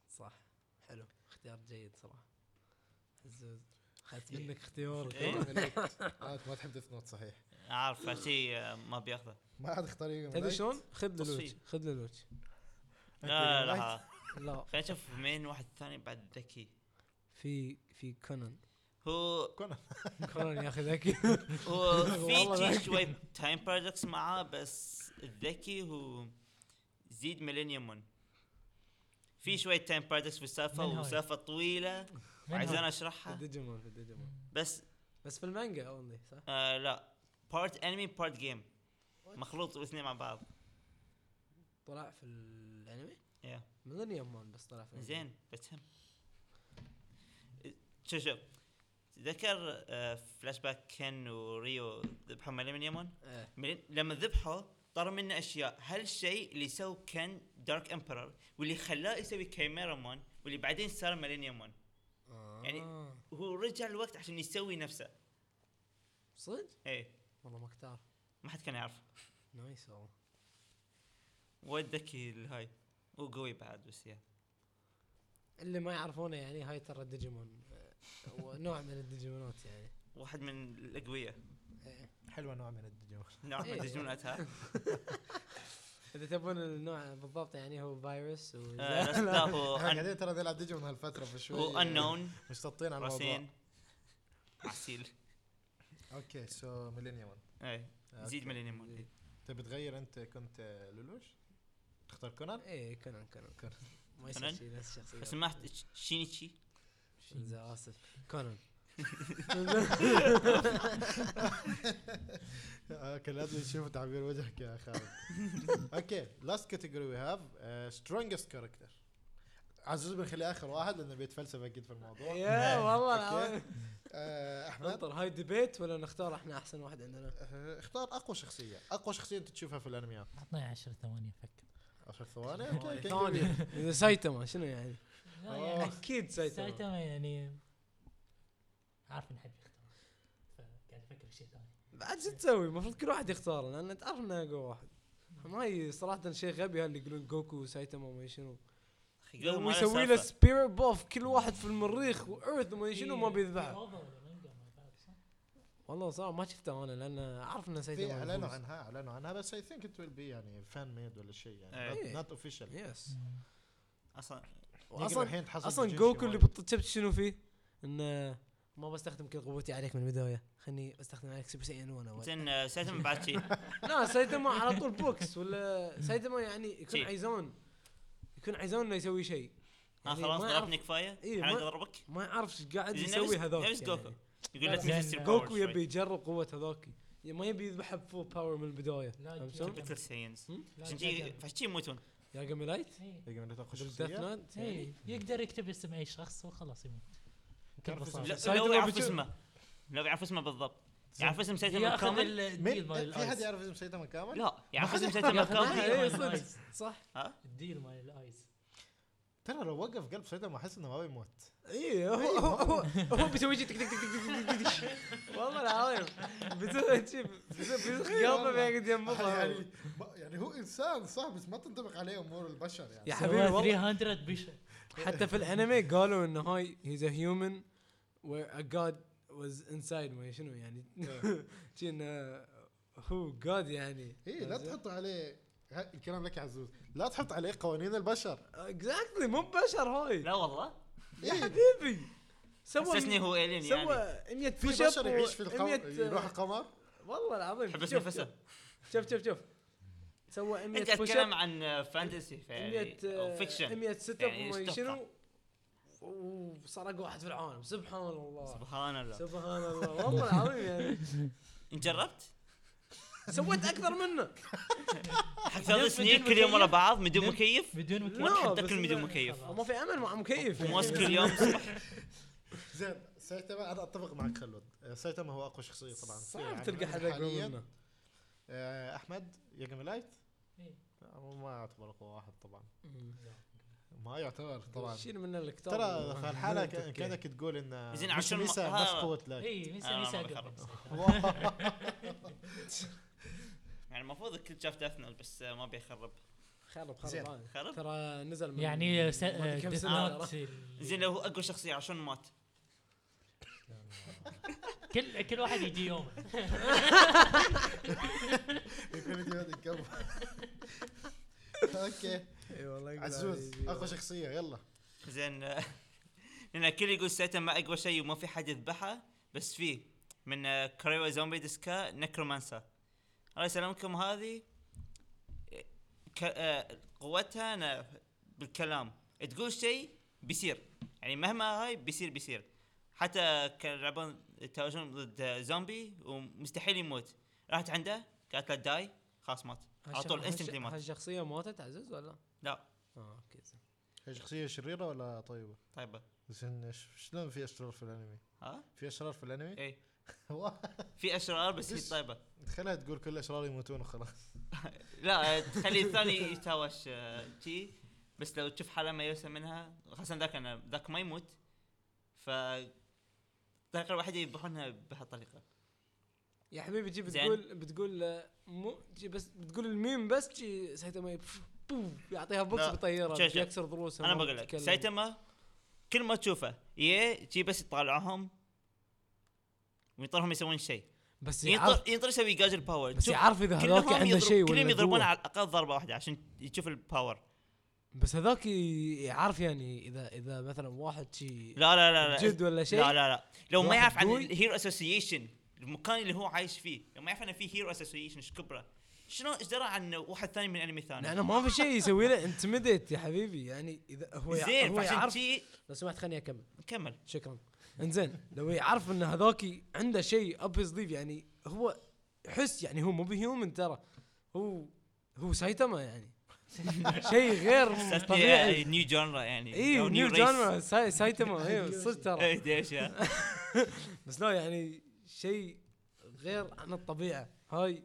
Speaker 4: صح حلو اختيار جيد صراحة عزوز اخذت
Speaker 3: إيه.
Speaker 4: منك اختيارك *laughs*
Speaker 3: إيه.
Speaker 1: آه، ما تحب ديث نوت صحيح
Speaker 3: اعرف شيء آه، ما بياخذه
Speaker 1: ما عاد اختار يوم
Speaker 4: تدري
Speaker 1: نايت.
Speaker 4: شلون؟ خذ لولوتش
Speaker 3: تصفيق.
Speaker 4: خذ لولوتش
Speaker 3: لا
Speaker 1: يوم
Speaker 3: لا
Speaker 4: لا
Speaker 3: خلينا نشوف مين واحد ثاني بعد ذكي
Speaker 4: في في كونان
Speaker 3: هو
Speaker 1: كنا
Speaker 4: كونان يا اخي ذكي
Speaker 3: هو
Speaker 4: والله
Speaker 3: في
Speaker 4: ذكي.
Speaker 3: شيء شوي تايم بارادوكس معاه بس الذكي هو زيد ميلينيوم ون في شوية تايم بارادوكس في السالفة
Speaker 2: من هاي؟
Speaker 3: وسالفة طويلة
Speaker 2: من
Speaker 3: وعايز
Speaker 2: هو؟
Speaker 3: انا
Speaker 4: في *laughs*
Speaker 3: اشرحها
Speaker 4: الديجيمون في الديجيمون
Speaker 3: بس
Speaker 4: بس في المانجا اونلي صح؟
Speaker 3: آه لا بارت انمي بارت جيم مخلوط الاثنين مع بعض
Speaker 4: طلع في الانمي؟
Speaker 3: يا
Speaker 4: ميلينيوم مان بس طلع في الأنمي.
Speaker 3: زين بس هم شوف شوف تذكر آه فلاش باك كن وريو ذبحوا مليون يمون
Speaker 4: ايه
Speaker 3: مليون- لما ذبحوا طار منه اشياء هالشيء اللي سوى كن دارك امبرر واللي خلاه يسوي كيميرا مون واللي بعدين صار ميلينيوم مون يعني-
Speaker 4: آه.
Speaker 3: وهو رجع الوقت عشان يسوي نفسه
Speaker 4: صدق؟
Speaker 3: ايه
Speaker 4: والله ما كتار
Speaker 3: ما حد كان يعرف
Speaker 4: نايس والله
Speaker 3: وايد ذكي الهاي وقوي بعد بس يا
Speaker 4: اللي ما يعرفونه يعني هاي ترى ديجيمون آه، هو نوع من الديجيمونات يعني
Speaker 3: واحد من الاقوياء
Speaker 4: إيه.
Speaker 1: حلوه نوع من الدجون
Speaker 3: نوع من
Speaker 4: إيه.
Speaker 3: دجنونات ها
Speaker 4: اذا تبون النوع بالضبط يعني هو فيروس و
Speaker 3: آه، بس لا
Speaker 1: *laughs*
Speaker 3: هو
Speaker 1: احنا
Speaker 3: un-
Speaker 1: قاعدين ترى نلعب دجون هالفتره في شوي
Speaker 3: هو unknown
Speaker 1: يعني. مشتطين على الموضوع
Speaker 3: راسين عسيل
Speaker 1: اوكي سو ميلينيوم
Speaker 3: اي زيد ميلينيوم
Speaker 4: زيد.
Speaker 1: تبي تغير انت كنت آه، لولوش تختار كونان
Speaker 4: ايه كونان كونان
Speaker 1: كونان.
Speaker 4: ما يصير
Speaker 3: كونان؟
Speaker 4: شيء نفس الشخصيه
Speaker 3: لو سمحت ش- شينيتشي
Speaker 4: زين اسف
Speaker 3: *laughs*
Speaker 4: كونان
Speaker 1: اوكي لازم نشوف تعبير وجهك يا خالد اوكي لاست كاتيجوري وي هاف سترونجست كاركتر عزوز بنخليه اخر واحد لانه بيتفلسف اكيد في الموضوع
Speaker 4: يا
Speaker 3: نعم.
Speaker 4: والله
Speaker 1: أوكي.
Speaker 4: العظيم.
Speaker 1: آه، احمد
Speaker 4: ننطر هاي ديبيت ولا نختار احنا احسن
Speaker 1: uh,
Speaker 4: واحد عندنا
Speaker 1: آه، اختار اقوى شخصيه اقوى شخصيه انت تشوفها في الانميات
Speaker 2: اعطني 10 ثواني افكر
Speaker 1: 10 ثواني اوكي
Speaker 4: ثاني
Speaker 1: كبير.
Speaker 4: إذا سايتاما شنو يعني؟
Speaker 2: لا، يعني
Speaker 4: اكيد سايتاما
Speaker 2: سايتاما يعني عارف ان حد بيختار فقاعد افكر في شيء ثاني
Speaker 4: بعد شو تسوي؟ المفروض كل واحد يختار لان انت عارف انه اقوى واحد هاي صراحة شيء غبي هاللي يقولون جوكو سايتاما وما شنو
Speaker 3: أخي، قبل ما له
Speaker 4: ويسوي له
Speaker 3: سالفة. إيه.
Speaker 4: سبيريت بوف كل واحد في المريخ وايرث وما شنو ما
Speaker 2: في- في
Speaker 4: بيذبحه
Speaker 2: أوفا ولا مانجا ما بعرف، صح؟
Speaker 4: والله صراحة ما شفته انا لان اعرف انه
Speaker 1: في
Speaker 4: سايتاما
Speaker 1: اعلنوا عنها اعلنوا عنها بس اي ثينك ات ويل بي يعني فان ميد ولا شيء يعني
Speaker 4: إيه.
Speaker 1: نوت اوفيشال
Speaker 4: يس
Speaker 3: اصلا
Speaker 4: واصلا
Speaker 1: الحين تحصل
Speaker 4: اصلا
Speaker 1: بجيمشي
Speaker 4: جوكو اللي
Speaker 1: وايد.
Speaker 4: بالط- شفت شنو فيه؟ انه ما بستخدم كل قوتي عليك من البدايه خليني استخدم عليك سوبر سايان 1 اول
Speaker 3: زين آه، سالفه بعد شيء
Speaker 4: *laughs* لا سايتاما على طول بوكس ولا سايتاما يعني يكون
Speaker 3: شي.
Speaker 4: عايزون يكون عايزون انه يسوي شيء
Speaker 3: آه،
Speaker 4: يعني
Speaker 3: خلاص
Speaker 4: ما يعرف-
Speaker 3: ضربني كفايه
Speaker 4: إيه،
Speaker 3: انا
Speaker 4: ما-
Speaker 3: اضربك
Speaker 4: ما يعرف ايش قاعد
Speaker 3: زين
Speaker 4: يسوي
Speaker 3: نفس-
Speaker 4: هذاك
Speaker 3: نفس جوكو.
Speaker 4: يعني.
Speaker 3: يقول
Speaker 2: لا،
Speaker 3: لك
Speaker 2: زين،
Speaker 3: ميستر
Speaker 4: جوكو يبي يجرب قوه هذاك ي- ما يبي يذبحه بفول باور من البدايه
Speaker 2: لا،
Speaker 4: فهمت
Speaker 2: جوكو.
Speaker 4: شلون؟
Speaker 3: مثل ساينز
Speaker 2: لا،
Speaker 3: عشان
Speaker 2: جاي-
Speaker 3: شي- فعشان شي يموتون
Speaker 4: يا جيمي لايت
Speaker 2: إيه.
Speaker 1: يجي من تاخذ
Speaker 4: بالديث
Speaker 1: شخصية
Speaker 4: نايت
Speaker 2: إيه. يقدر يكتب اسم اي شخص وخلاص يموت
Speaker 1: تعرف
Speaker 2: بكل بساطه
Speaker 1: اسم-
Speaker 3: لا،
Speaker 4: سايتاما
Speaker 3: لو يعرف
Speaker 4: بيجو-
Speaker 3: اسمه لو يعرف اسمه بالضبط
Speaker 2: زين.
Speaker 3: يعرف اسم سايتاما
Speaker 2: ياخذ
Speaker 3: كامل
Speaker 2: الديل
Speaker 1: مين
Speaker 2: مال
Speaker 1: في حد
Speaker 2: الايز
Speaker 1: يعرف اسم سيتاما كامل؟
Speaker 3: لا يعرف اسم سايتاما
Speaker 2: ياخذ
Speaker 3: كامل
Speaker 2: الديل
Speaker 4: إيه،
Speaker 2: مال
Speaker 4: صدق.
Speaker 2: الايز
Speaker 4: صح
Speaker 2: الديل مال الايز
Speaker 1: ترى لو وقف قلب سيتاما احس انه ما بيموت إيه،
Speaker 4: اي هو هو هو إيه. *laughs* هو بيسوي شي تك تك تك تك تك تك تك والله العظيم بيسوي شي بيسوي خياطه بيقعد يمضها
Speaker 1: *laughs* يعني يعني هو انسان صح بس ما تنطبق عليه امور البشر يعني
Speaker 4: يا حبيبي
Speaker 2: حبيبي
Speaker 4: والله
Speaker 2: 300 بشر
Speaker 4: حتى في الانمي قالوا انه هاي هيز ا هيومن وير ا جاد واز انسايد ما شنو
Speaker 1: *laughs*
Speaker 4: يعني شي انه هو جاد يعني
Speaker 1: ايه لا تحط عليه ها- الكلام لك يا عزوز لا تحط عليه قوانين البشر
Speaker 4: اكزاكتلي مو بشر هاي
Speaker 3: لا والله
Speaker 4: يا
Speaker 1: إيه.
Speaker 4: حبيبي سوى
Speaker 3: حسسني هو الين يعني
Speaker 4: سوى 100
Speaker 1: في
Speaker 4: بوش
Speaker 1: بشر
Speaker 4: اب
Speaker 1: يعيش في القمر يروح
Speaker 4: القمر
Speaker 1: القمر
Speaker 4: والله العظيم
Speaker 3: حب
Speaker 4: شوف-
Speaker 3: اسمه فسه
Speaker 4: شوف شوف شوف سوى 100
Speaker 3: انت
Speaker 4: بوش
Speaker 3: اتكلم عن فانتسي فيعني
Speaker 4: 100
Speaker 3: او فيكشن
Speaker 4: 100 سيت اب
Speaker 3: يعني
Speaker 4: وما
Speaker 3: ايش
Speaker 4: شنو وسرق واحد في العالم سبحان الله
Speaker 3: سبحان الله
Speaker 4: سبحان الله والله العظيم يعني
Speaker 3: انت جربت؟
Speaker 4: سويت اكثر منه
Speaker 3: حق ثلاث
Speaker 2: نفس
Speaker 3: سنين
Speaker 2: بدون
Speaker 3: كل يوم ورا
Speaker 2: مكيف؟
Speaker 3: بعض بدون
Speaker 2: نفس-
Speaker 3: مكيف
Speaker 2: بدون
Speaker 4: لا،
Speaker 2: مكيف
Speaker 3: وانت
Speaker 4: بس
Speaker 3: تاكل
Speaker 4: إنه-
Speaker 3: مع مكيف
Speaker 2: خلاص.
Speaker 4: ما في امل مع مكيف يعني.
Speaker 3: وماسك كل يوم
Speaker 1: زين سايتاما انا اتفق معك خلود آه، سايتاما هو اقوى شخصيه طبعا في
Speaker 4: صعب
Speaker 1: العالم
Speaker 4: تلقى حد اقوى
Speaker 1: يعني حالياً.
Speaker 4: منه
Speaker 1: آه، احمد ياجامي لايت
Speaker 2: إيه.
Speaker 1: لا، هو ما يعتبر اقوى واحد طبعا ما يعتبر طبعا
Speaker 4: شيل منه الكتاب
Speaker 1: ترى في
Speaker 4: *laughs*
Speaker 1: الحاله
Speaker 3: *laughs*
Speaker 1: ك- كانك تقول ان
Speaker 3: زين
Speaker 1: مش
Speaker 3: عشان ما-
Speaker 1: ميسا
Speaker 3: ها-
Speaker 1: نفس قوه
Speaker 4: طيب.
Speaker 1: لايت
Speaker 2: اي
Speaker 3: أنا
Speaker 2: ميسا
Speaker 3: ما
Speaker 2: ميسا
Speaker 3: بخرب.
Speaker 2: إيه، أقرب.
Speaker 1: *laughs*
Speaker 3: يعني المفروض الكل شاف دافنل بس آه، ما بيخرب
Speaker 4: خرب
Speaker 1: زين.
Speaker 4: خرب هذا.
Speaker 3: خرب
Speaker 4: ترى نزل من
Speaker 2: يعني
Speaker 4: ما أدري كم
Speaker 2: ديث
Speaker 4: سنة
Speaker 2: نوت
Speaker 3: زين لو هو اقوى شخصيه عشان مات
Speaker 2: كل كل واحد يجي يوم
Speaker 1: يكون يجي *laughs* القلب اوكي
Speaker 4: اي والله يقول
Speaker 1: عزوز
Speaker 4: علي.
Speaker 1: اقوى شخصيه يلا
Speaker 3: زين *laughs* آه، لان الكل يقول سايتاما اقوى شيء وما في حد يذبحه بس فيه من آه، كريوا زومبي ديسكا نكرومانسا الله يسلمكم هذه آه، ك- آه، قوتها أنا بالكلام تقول شيء بيصير يعني مهما هاي بيصير بيصير حتى كانوا يلعبون التوازن ضد آه، زومبي ومستحيل يموت راحت عنده قالت له داي خلاص مات على
Speaker 4: هالش-
Speaker 3: طول
Speaker 4: هالش-
Speaker 3: instantly مات.
Speaker 4: هالشخصية ماتت عزوز ولا؟
Speaker 3: لا
Speaker 4: اه اوكي زين.
Speaker 1: هي شخصيه شريره ولا طيبه؟
Speaker 3: طيبه
Speaker 1: زين ش- شلون في اشرار في الانمي؟
Speaker 3: ها إيه.
Speaker 1: في اشرار في
Speaker 4: إيه.
Speaker 1: *laughs* الانمي؟
Speaker 3: اي
Speaker 1: والله،
Speaker 3: في اشرار بس هي
Speaker 1: إيش؟
Speaker 3: طيبه
Speaker 1: خليها تقول كل الاشرار يموتون وخلاص
Speaker 3: لا آه، تخلي الثاني يتهاوش تي بس لو تشوف حاله ميؤوسه منها خاصه ذاك انا ذاك ما يموت ف الطريقه الوحيده يذبحونها بهالطريقه
Speaker 4: يا حبيبي جي
Speaker 3: زين.
Speaker 4: بتقول بتقول آه، مو جي بس بتقول الميم بس جي سايتاما يبف- بوف يعطيها بوكس
Speaker 3: لا.
Speaker 4: بيطيرها
Speaker 3: شوف- شوف.
Speaker 4: يكسر ضروسها
Speaker 3: انا
Speaker 4: ما
Speaker 3: بقول لك
Speaker 4: بتتكلم.
Speaker 3: سايتاما كل ما تشوفه يه جي بس يطالعهم ويطرهم يسوون شيء
Speaker 4: بس يعرف
Speaker 3: ينطر ينطر يسوي جاجل باور
Speaker 4: بس
Speaker 3: تشوف
Speaker 4: يعرف اذا
Speaker 3: كلهم
Speaker 4: هذاك عنده
Speaker 3: يضرب-
Speaker 4: شيء ولا
Speaker 3: كلهم يضربون
Speaker 4: قوة.
Speaker 3: على الاقل ضربه واحده عشان يشوف الباور
Speaker 4: بس هذاك ي- يعرف يعني اذا اذا مثلا واحد شي
Speaker 3: لا لا لا لا
Speaker 4: جد ولا شيء
Speaker 3: لا لا لا لو ما
Speaker 4: واحد
Speaker 3: يعرف عن
Speaker 4: قوي.
Speaker 3: الهيرو اسوسيشن المكان اللي هو عايش فيه لو ما يعرف انه في هيرو اسوسيشن ايش كبره شنو ايش درى عن واحد ثاني من انمي ثاني
Speaker 4: لانه ما في شيء يسوي له انتميديت يا حبيبي يعني اذا هو يع-
Speaker 3: زين
Speaker 4: هو
Speaker 3: فعشان
Speaker 4: يعرف طيب.
Speaker 3: شي
Speaker 4: لو سمحت خليني اكمل
Speaker 3: كمل
Speaker 4: شكرا انزين لو يعرف ان هذاك عنده شيء اب سليف يعني هو يحس يعني هو مو بهيومن ترى هو هو سايتاما
Speaker 3: *laughs*
Speaker 4: يعني شيء غير طبيعي إيه،
Speaker 3: نيو جانرا uh, يعني
Speaker 4: اي نيو
Speaker 3: *laughs*
Speaker 4: جانرا ساي- سايتاما اي صدق ترى
Speaker 3: اي إيه،
Speaker 4: *laughs*
Speaker 3: ديش يا.
Speaker 4: بس لا يعني شيء غير عن الطبيعه هاي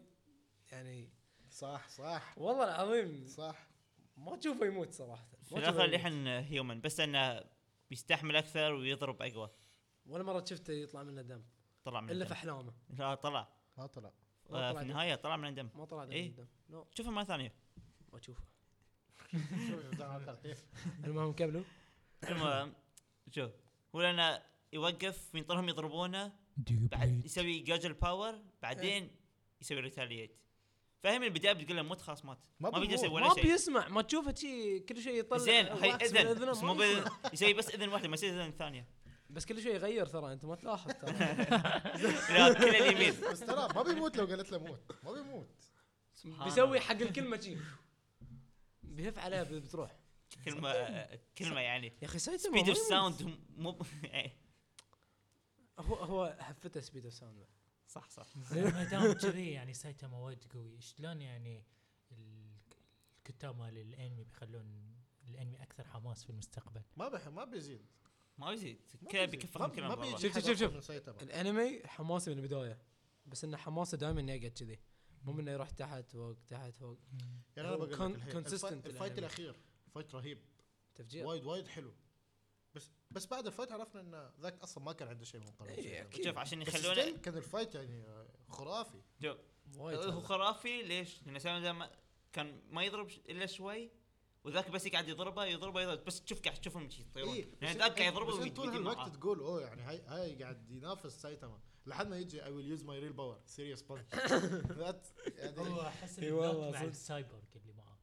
Speaker 4: يعني
Speaker 1: صح صح
Speaker 4: والله العظيم
Speaker 1: صح
Speaker 4: ما تشوفه يموت صراحه ما
Speaker 3: في
Speaker 4: تشوفه
Speaker 3: الاخر
Speaker 4: يموت.
Speaker 3: لحن هيومن بس انه بيستحمل اكثر ويضرب اقوى
Speaker 4: ولا مره شفته يطلع منه دم
Speaker 3: طلع من
Speaker 4: الا في
Speaker 3: الدم
Speaker 4: احلامه
Speaker 3: لا طلع
Speaker 1: ما طلع
Speaker 4: ما
Speaker 3: آه، في
Speaker 4: طلع دم.
Speaker 3: النهايه طلع من الدم
Speaker 4: ما طلع دم
Speaker 3: إيه.
Speaker 4: من الدم نو
Speaker 3: شوفه مره ثانيه
Speaker 4: ما تشوفه المهم كملوا
Speaker 3: المهم شوف هو لانه يوقف وينطرهم يضربونه بعد
Speaker 2: ديوبليت
Speaker 3: يسوي جاجل باور بعدين يسوي ريتاليت فهي من البدايه بتقول له مت خلاص مات
Speaker 1: ما
Speaker 3: ما بيقدر يسوي
Speaker 4: ما
Speaker 3: ولا شيء
Speaker 4: بيسمع ما تشوفه شي كل شوي يطلع
Speaker 3: زين هي
Speaker 4: واكس من
Speaker 3: اذن
Speaker 4: أذنه،
Speaker 3: بس
Speaker 4: ما
Speaker 3: مو
Speaker 4: يسمع.
Speaker 3: بإذن- *laughs* يسوي بس اذن واحده ما يسوي اذن ثانيه
Speaker 1: *laughs*
Speaker 4: بس كل شوي يغير ترى انت ما تلاحظ
Speaker 3: *laughs*
Speaker 4: ترى
Speaker 3: لا كل اليمين
Speaker 1: بس ترى ما بيموت لو قالت له موت ما بيموت
Speaker 3: سبحان
Speaker 4: بيسوي
Speaker 3: الله.
Speaker 4: حق الكلمه شي بيهف عليها بتروح
Speaker 3: كلمه كلمه يعني
Speaker 4: يا اخي سايتاما
Speaker 3: سبيد
Speaker 4: ما
Speaker 3: اوف
Speaker 4: يموت.
Speaker 3: ساوند مو *laughs* إيه،
Speaker 4: هو هو هفته سبيد اوف ساوند
Speaker 3: صح صح
Speaker 2: ما دام كذي يعني سايتاما وايد قوي شلون يعني ال- الكتاب مال الانمي بيخلون الانمي اكثر حماس في المستقبل
Speaker 1: ما بح ما بيزيد
Speaker 3: ما بيزيد
Speaker 1: ما
Speaker 3: كذا
Speaker 1: بيزيد.
Speaker 3: بيكفرهم
Speaker 1: ما-
Speaker 3: كلام
Speaker 1: ما
Speaker 3: برا.
Speaker 1: بيجي
Speaker 4: شوف-
Speaker 1: حد
Speaker 4: شوف- شوف.
Speaker 1: أقوى من سايتاما.
Speaker 4: الانمي حماسي من البدايه بس انه حماسه دائما يقعد كذي مو انه يروح تحت فوق تحت فوق
Speaker 1: يعني انا
Speaker 4: هو
Speaker 1: بقول لك
Speaker 4: كون-
Speaker 1: الحين، الفا-
Speaker 4: consistent
Speaker 1: الفايت
Speaker 4: الأنمي.
Speaker 1: الاخير فايت رهيب
Speaker 4: تفجير
Speaker 1: وايد وايد حلو بس بس بعد الفايت عرفنا ان ذاك اصلا ما كان عنده شيء من قبل
Speaker 4: إيه،
Speaker 1: شيء.
Speaker 4: أكيد.
Speaker 3: شوف عشان
Speaker 1: بس
Speaker 3: يخلونه
Speaker 1: still كان الفايت يعني آه، خرافي
Speaker 3: شوف
Speaker 4: وايد
Speaker 3: هو
Speaker 4: هذا.
Speaker 3: خرافي ليش؟ لان سامي ده ما- كان ما يضرب ش- الا شوي وذاك بس يقعد يضربه يضربه يضرب بس تشوف قاعد تشوفهم يجي
Speaker 4: طيب،
Speaker 3: يطيرون
Speaker 1: إيه،
Speaker 3: لان
Speaker 1: بس
Speaker 3: ذاك قاعد
Speaker 1: أنت-
Speaker 3: يعني يضربه
Speaker 1: بس أنت طول
Speaker 3: ويجي
Speaker 1: الوقت
Speaker 3: معاه
Speaker 1: تقول اوه يعني هاي هاي قاعد ينافس سايتاما لحد ما يجي اي ويل يوز ماي ريل باور سيريس بانش
Speaker 4: *laughs*
Speaker 1: يعني
Speaker 2: هو احس
Speaker 4: إي
Speaker 2: البلوت
Speaker 4: والله
Speaker 2: مع
Speaker 4: صدق.
Speaker 2: السايبورغ اللي معاه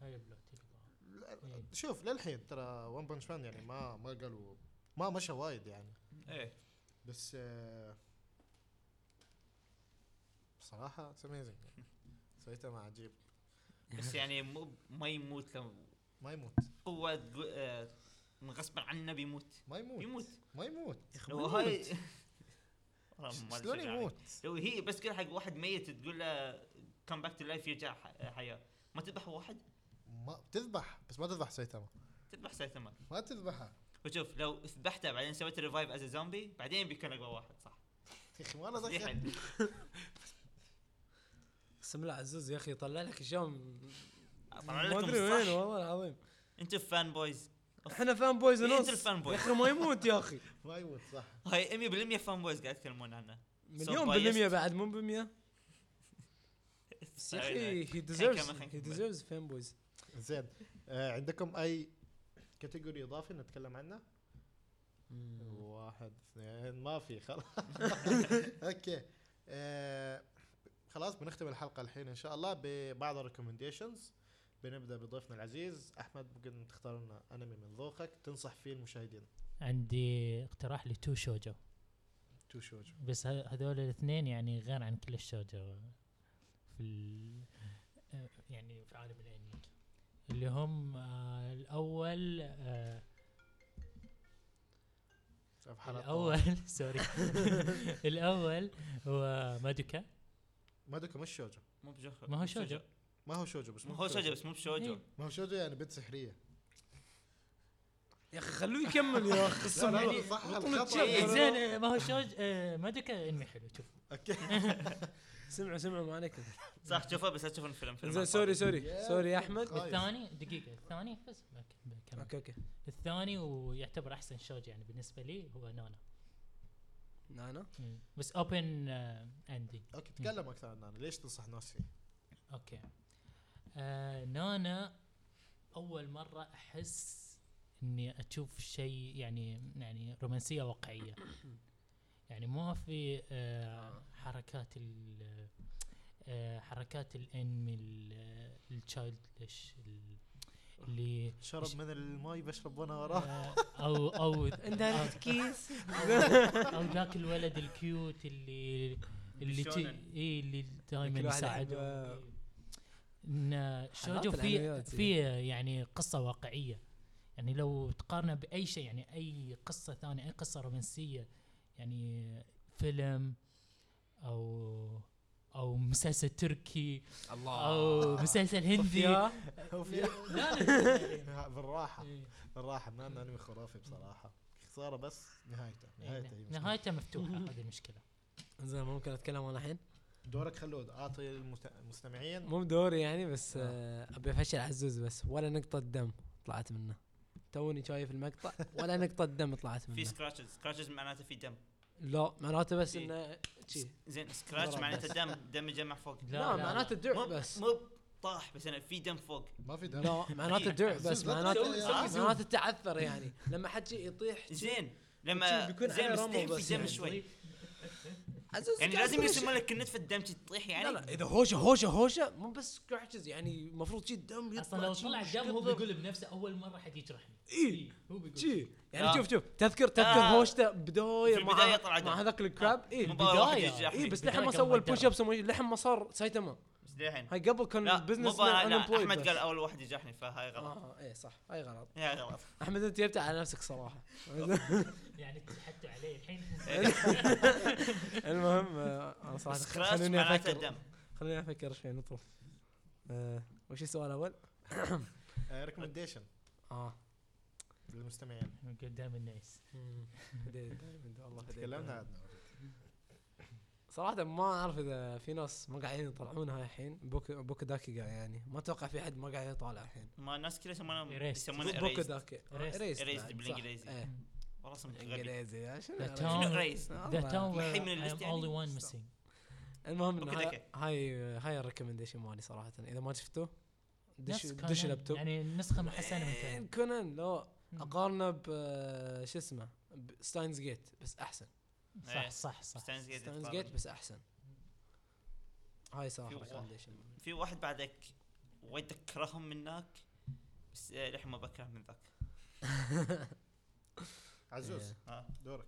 Speaker 2: هاي البلوت اللي معاه إيه.
Speaker 1: شوف للحين ترى ون بانش مان يعني ما ما قالوا ما مشى وايد يعني
Speaker 3: ايه
Speaker 1: بس آه، بصراحه اتس اميزنج
Speaker 4: *laughs*
Speaker 1: سايتاما عجيب
Speaker 3: بس يعني مو ما يموت لو
Speaker 1: ما يموت
Speaker 3: قوه تقو- آه، من غصبا عنه بيموت
Speaker 1: ما يموت
Speaker 3: بيموت
Speaker 1: ما يموت
Speaker 3: لو هاي *laughs* والله ما
Speaker 1: شلون
Speaker 3: أدري شو يعني.
Speaker 1: يموت؟
Speaker 3: لو هي بس كل حق واحد ميت تقول له كم باك تو لايف يرجع ح- حياه ما تذبح واحد
Speaker 1: ما تذبح بس ما تذبح سايتاما
Speaker 3: تذبح سايتاما
Speaker 1: ما تذبحها
Speaker 3: وشوف لو ذبحته بعدين سويت ريفايف از زومبي بعدين بيكون اقوى واحد صح
Speaker 1: يا اخي مره
Speaker 3: تصريحاً.
Speaker 1: دخل
Speaker 4: بسم الله عزوز يا اخي يطلع لك اشياء م-
Speaker 3: طلع
Speaker 4: ما
Speaker 3: لكم
Speaker 4: ادري وين
Speaker 3: صح
Speaker 4: والله العظيم
Speaker 3: انتوا فان بويز
Speaker 4: احنا فان بويز
Speaker 3: إيه، أنت
Speaker 4: ونص
Speaker 3: الفان بوي.
Speaker 4: يا اخي ما يموت يا
Speaker 3: *laughs*
Speaker 4: اخي
Speaker 1: ما يموت صح
Speaker 3: هاي 100% فان بويز قاعد يتكلمون عنه
Speaker 4: مليون
Speaker 3: biased.
Speaker 4: بالمية بعد مو بالمية بس يا اخي هي ديزيرفز
Speaker 3: خلينا
Speaker 4: هي
Speaker 3: نكمل.
Speaker 4: ديزيرفز فان بويز
Speaker 1: زين آه عندكم اي كاتيجوري اضافي نتكلم عنه؟ واحد اثنين ما في
Speaker 3: *laughs*
Speaker 1: خلاص اوكي آه خلاص بنختم الحلقه الحين ان شاء الله ببعض الريكومنديشنز بنبدا بضيفنا العزيز احمد ممكن تختار لنا انمي من ذوقك تنصح فيه المشاهدين
Speaker 2: عندي اقتراح لتو شوجو
Speaker 1: تو شوجو
Speaker 2: بس ه- هذول الاثنين يعني غير عن كل الشوجو في ال آه، يعني في عالم الانمي اللي هم آه الاول آه
Speaker 1: شوف حلقة
Speaker 2: الاول *laughs* سوري الاول هو مادوكا
Speaker 1: ما دوكا مش شوجو
Speaker 3: مو بجوجو
Speaker 2: ما هو شوجو
Speaker 1: ما هو شوجو بس
Speaker 3: ما هو شوجو بس مو بشوجو
Speaker 2: إيه.
Speaker 1: ما هو شوجو يعني بنت سحريه
Speaker 4: يا اخي خلوه يكمل يا اخي
Speaker 1: لا لا
Speaker 4: قسم
Speaker 1: لا صح
Speaker 4: بطولة
Speaker 1: الخطأ.
Speaker 4: شيء.
Speaker 2: زين آه، ما هو شوج آه مادوكا انمي حلو شوف
Speaker 1: *laughs* اوكي
Speaker 4: سمعوا سمعوا ما عليكم
Speaker 3: صح شوفه بس لا تشوفون فيلم فيلم
Speaker 4: زين سوري سوري
Speaker 1: يا
Speaker 4: سوري يا احمد
Speaker 1: خايف.
Speaker 2: الثاني دقيقة الثاني بس بك- بكمل.
Speaker 4: اوكي اوكي
Speaker 2: الثاني ويعتبر احسن شوج يعني بالنسبة لي هو نانا
Speaker 4: نانا
Speaker 2: مم. بس آه، اوبن اندنج
Speaker 1: اوكي تكلم اكثر عن انا ليش تنصح ناس فيه؟
Speaker 2: اوكي آه نانا اول مره احس اني اشوف شيء يعني يعني رومانسيه واقعيه يعني ما في آه حركات ال آه حركات الانمي ال- التشايلدش ال- اللي
Speaker 1: شرب من الماي بشرب وانا
Speaker 2: *laughs*
Speaker 1: وراه
Speaker 2: آه او او او
Speaker 4: كيس
Speaker 2: او ذاك الولد الكيوت اللي اللي تي
Speaker 3: الشونن.
Speaker 2: اي اللي دائما
Speaker 4: كل واحد
Speaker 2: يساعده
Speaker 4: يحب-
Speaker 2: ان شوجو
Speaker 4: حالات
Speaker 2: في
Speaker 4: العنايات
Speaker 2: في يعني قصه واقعيه يعني لو تقارنه باي شيء يعني اي قصه ثانيه اي قصه رومانسيه يعني فيلم او او مسلسل تركي
Speaker 4: آه.
Speaker 2: او مسلسل هندي لا
Speaker 4: يا
Speaker 1: *laughs*
Speaker 2: لا
Speaker 1: بالراحه
Speaker 2: إيه.
Speaker 1: بالراحه ما أنا انمي خرافي بصراحه خساره
Speaker 2: إيه،
Speaker 4: *laughs*
Speaker 1: بس نهايته نهايته هي مشكلة.
Speaker 2: نهايته مفتوحه هذه المشكله
Speaker 4: زين ممكن اتكلم انا الحين
Speaker 1: دورك خلود اعطي المست- المستمعين
Speaker 4: مو بدوري يعني بس
Speaker 1: آه.
Speaker 4: آه، ابي افشل عزوز بس ولا نقطه دم طلعت منه توني شايف المقطع ولا نقطه دم طلعت
Speaker 3: في
Speaker 4: منه
Speaker 3: سكراتشز سكراتشز معناته في دم
Speaker 4: لا معناته بس
Speaker 3: في.
Speaker 4: انه شي
Speaker 3: زين سكراتش
Speaker 4: ضرب
Speaker 3: معناته دم دم يجمع فوق
Speaker 2: لا،
Speaker 4: لا معناته جوع
Speaker 3: مو
Speaker 4: بس
Speaker 3: مو طاح بس انا في دم فوق
Speaker 1: ما في *laughs* دم
Speaker 4: لا
Speaker 3: إيه.
Speaker 4: معناته جوع بس
Speaker 1: عزوز، لا
Speaker 4: معناته
Speaker 1: تسوي-
Speaker 3: سوي
Speaker 4: آه،
Speaker 3: زوم.
Speaker 4: معناته تعثر يعني لما حد شي يطيح شي.
Speaker 3: زين لما
Speaker 4: بيكون
Speaker 3: زين
Speaker 4: عليه رمل
Speaker 3: مستحيل
Speaker 4: بس
Speaker 3: في دم
Speaker 4: يعني.
Speaker 3: شوي
Speaker 4: عزوز
Speaker 3: يعني
Speaker 4: قاعد
Speaker 3: لازم
Speaker 4: كل
Speaker 3: يرسمون
Speaker 4: شي-
Speaker 3: لك النتفه الدم شي تطيح يعني
Speaker 4: لا لا اذا هوشه هوشه هوشه مو بس كراتشز يعني المفروض شي الدم يطلع
Speaker 2: اصلا لو
Speaker 4: شي
Speaker 2: طلع
Speaker 4: مشكلة.
Speaker 2: دم هو بيقول بنفسه اول مره حد يجرحني
Speaker 4: إيه.
Speaker 2: هو بيقول
Speaker 4: شي يعني
Speaker 3: آه.
Speaker 4: شوف شوف تذكر تذكر
Speaker 3: آه.
Speaker 4: هوشته بدايه
Speaker 3: في
Speaker 4: مع
Speaker 3: البداية طلع دم. آه.
Speaker 4: مع هذاك الكراب اي
Speaker 3: مو بأول واحد
Speaker 2: البداية.
Speaker 3: يجي أحمد.
Speaker 4: اي إيه، بس
Speaker 2: بالبداية
Speaker 4: لحن ما
Speaker 2: كان
Speaker 4: سوى
Speaker 2: مايك
Speaker 4: البوش ابس وما- لحن ما صار سايتاما
Speaker 3: بس للحين
Speaker 4: هاي قبل كان
Speaker 3: لا مو
Speaker 4: البزنس
Speaker 3: بقى- لا
Speaker 4: مان
Speaker 3: احمد قال اول واحد يجرحني فهاي غلط
Speaker 4: اه اي صح هاي غلط
Speaker 3: هاي غلط
Speaker 4: احمد انت جبت على نفسك
Speaker 3: *laughs*
Speaker 4: صراحه
Speaker 2: يعني تحتوا علي الحين
Speaker 4: *laughs* المهم آه، انا صراحه
Speaker 3: سكراتش
Speaker 4: خلوني
Speaker 3: معناته
Speaker 4: افكر
Speaker 3: دم
Speaker 4: خلوني افكر شوي نطرف آه، وش السؤال الاول؟
Speaker 1: ريكومنديشن
Speaker 2: آه.
Speaker 4: اه
Speaker 1: آه، للمستمعين
Speaker 2: نقول دائما نايس
Speaker 4: *laughs* هديت دايماً، والله هديت
Speaker 1: تكلمنا
Speaker 4: دايماً.
Speaker 1: عنه
Speaker 4: صراحة ما اعرف اذا في ناس ما قاعدين يطلعونها الحين بوكو بوكو داكي قاعد يعني ما اتوقع في حد ما قاعد يطالع الحين
Speaker 3: ما الناس كلها يسمونه
Speaker 2: Erased.
Speaker 3: يسمونه
Speaker 4: بوكو
Speaker 3: erased.
Speaker 4: داكي
Speaker 2: Erased.
Speaker 3: Erased
Speaker 4: بعد، صح.
Speaker 3: بالإنجليزي.
Speaker 4: إيه،
Speaker 3: والله اسمك *laughs* غريب
Speaker 4: انجليزي آه، شنو
Speaker 2: The
Speaker 4: erased؟
Speaker 2: town-
Speaker 3: شنو erased؟
Speaker 2: ذا
Speaker 4: والله.
Speaker 2: تاون
Speaker 3: الحين من
Speaker 2: اي ام
Speaker 3: الليست يعني.
Speaker 2: اونلي وان ميسينج
Speaker 4: المهم إن
Speaker 3: بوكو
Speaker 4: هاي
Speaker 3: داكي.
Speaker 4: هاي هاي الريكومنديشن مالي صراحة اذا ما شفتوه
Speaker 2: دش
Speaker 4: دش دش لابتوب
Speaker 2: يعني نسخه محسنه من
Speaker 4: إيه،
Speaker 2: كلام
Speaker 4: كونان لو اقارنه ب شو اسمه ستاينز جيت بس احسن
Speaker 3: إيه،
Speaker 2: صح صح صح
Speaker 3: ستاينز جيت
Speaker 4: ستاينز
Speaker 3: يتقارن.
Speaker 4: جيت بس احسن هاي صراحة
Speaker 3: في
Speaker 4: recommendation.
Speaker 3: في واحد بعدك وايد اكرههم من ذاك بس آه، للحين ما بكره من ذاك
Speaker 1: عزوز
Speaker 3: ها.
Speaker 1: دورك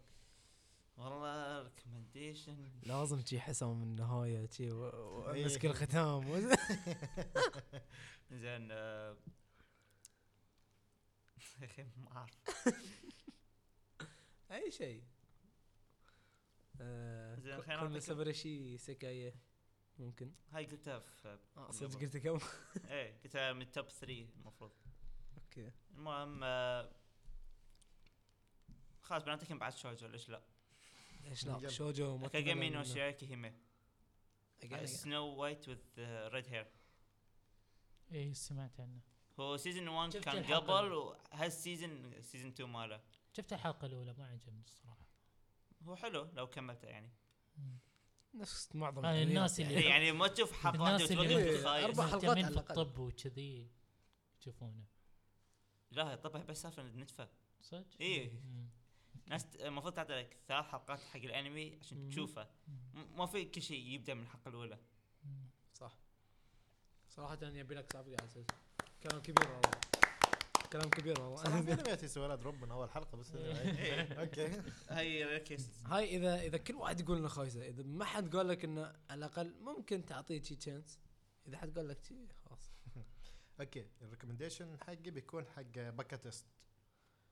Speaker 3: والله ريكومنديشن
Speaker 4: لازم شي حسم من النهاية شي و- و-
Speaker 1: إيه.
Speaker 4: مسك
Speaker 3: *laughs*
Speaker 4: الختام *laughs* و-
Speaker 3: زين آه، *laughs* يا اخي ما اعرف
Speaker 4: اي شيء آه،
Speaker 3: زين،
Speaker 4: كو-
Speaker 3: خلينا
Speaker 4: كل
Speaker 3: نعطيك-
Speaker 4: سبرشي سكاية ممكن
Speaker 3: هاي قلتها في
Speaker 4: اه
Speaker 3: بالضبط.
Speaker 4: صدق قلت *laughs* كم
Speaker 3: ايه قلتها من توب 3 المفروض
Speaker 4: اوكي
Speaker 3: المهم آه، خلاص بنعطيكم بعد شوجو ليش لا؟
Speaker 4: ليش لا
Speaker 1: جنب.
Speaker 4: شوجو ما
Speaker 3: كاجامي نو
Speaker 4: تبلى
Speaker 3: شياكي هيمي
Speaker 4: منه.
Speaker 3: سنو وايت وذ ريد هير
Speaker 2: اي إيه، سمعت عنه
Speaker 3: هو سيزون 1
Speaker 2: شفت
Speaker 3: كان
Speaker 2: الحلقة
Speaker 3: قبل
Speaker 2: دي.
Speaker 3: وهالسيزون سيزون 2 ماله
Speaker 2: شفت الحلقه الاولى ما عجبني الصراحه
Speaker 3: هو حلو لو كملته يعني
Speaker 4: نفس معظم
Speaker 2: انا
Speaker 4: الأنميات
Speaker 2: آه، الناس اللي-
Speaker 4: يعني.
Speaker 3: يعني
Speaker 2: *laughs*
Speaker 3: ما تشوف حلقه واحده
Speaker 2: الناس اللي-
Speaker 3: وتوقف تتخايس
Speaker 4: أربع حلقات
Speaker 2: مهتمين
Speaker 4: على
Speaker 2: في
Speaker 4: الأقل.
Speaker 2: الطب وكذي يشوفونه
Speaker 3: لا هي طبعا بس سالفه النتفه
Speaker 2: صدق؟
Speaker 3: إيه.
Speaker 2: مم.
Speaker 3: ناس ت- المفروض تعطي لك ثلاث حلقات حق الانمي عشان
Speaker 4: مم.
Speaker 3: تشوفه
Speaker 2: مم.
Speaker 3: م- ما في كل شيء يبدا من الحلقه الاولى
Speaker 4: *laughs*
Speaker 2: مم.
Speaker 4: صح صراحة يبي لك صفقة على أساس كلام كبير والله كلام كبير
Speaker 1: صراحه في
Speaker 4: والله
Speaker 1: انميات يسوي لها دروب من اول حلقه بس يعني.
Speaker 3: إيه.
Speaker 1: اوكي
Speaker 3: هاي ريكست
Speaker 4: هاي اذا اذا كل واحد يقول انه خايسه اذا ما حد قال لك انه على الاقل ممكن تعطيه شي تشانس اذا حد قال لك شي خلاص
Speaker 1: اوكي الريكومنديشن حقي بيكون حق باكاتست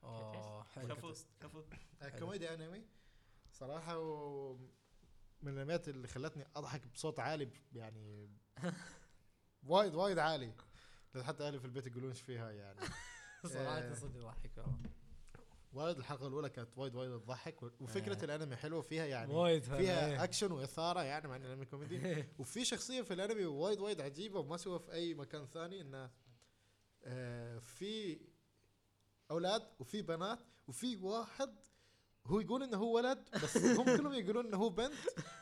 Speaker 4: اوه حلو
Speaker 3: كفو
Speaker 2: *laughs*
Speaker 3: كفو
Speaker 1: آه، كوميدي انمي صراحه و من الانميات اللي خلتني اضحك بصوت عالي ب-
Speaker 4: *laughs*
Speaker 1: يعني وايد وايد عالي لأن حتى اهلي في البيت يقولون ايش فيها
Speaker 4: *laughs*
Speaker 1: يعني
Speaker 4: *laughs* صراحة صدق يضحك والله
Speaker 1: وايد الحلقه الاولى كانت وايد وايد تضحك و- وفكره
Speaker 4: آه.
Speaker 1: الانمي حلوه فيها يعني
Speaker 4: وايد فعلاً، إيه.
Speaker 1: فيها اكشن واثاره يعني مع الانمي
Speaker 4: *laughs*
Speaker 1: كوميدي وفي شخصيه في الانمي وايد وايد عجيبه وما سوى في اي مكان ثاني انه آه، في اولاد وفي بنات وفي واحد هو يقول انه هو ولد بس *laughs* هم كلهم يقولون انه هو بنت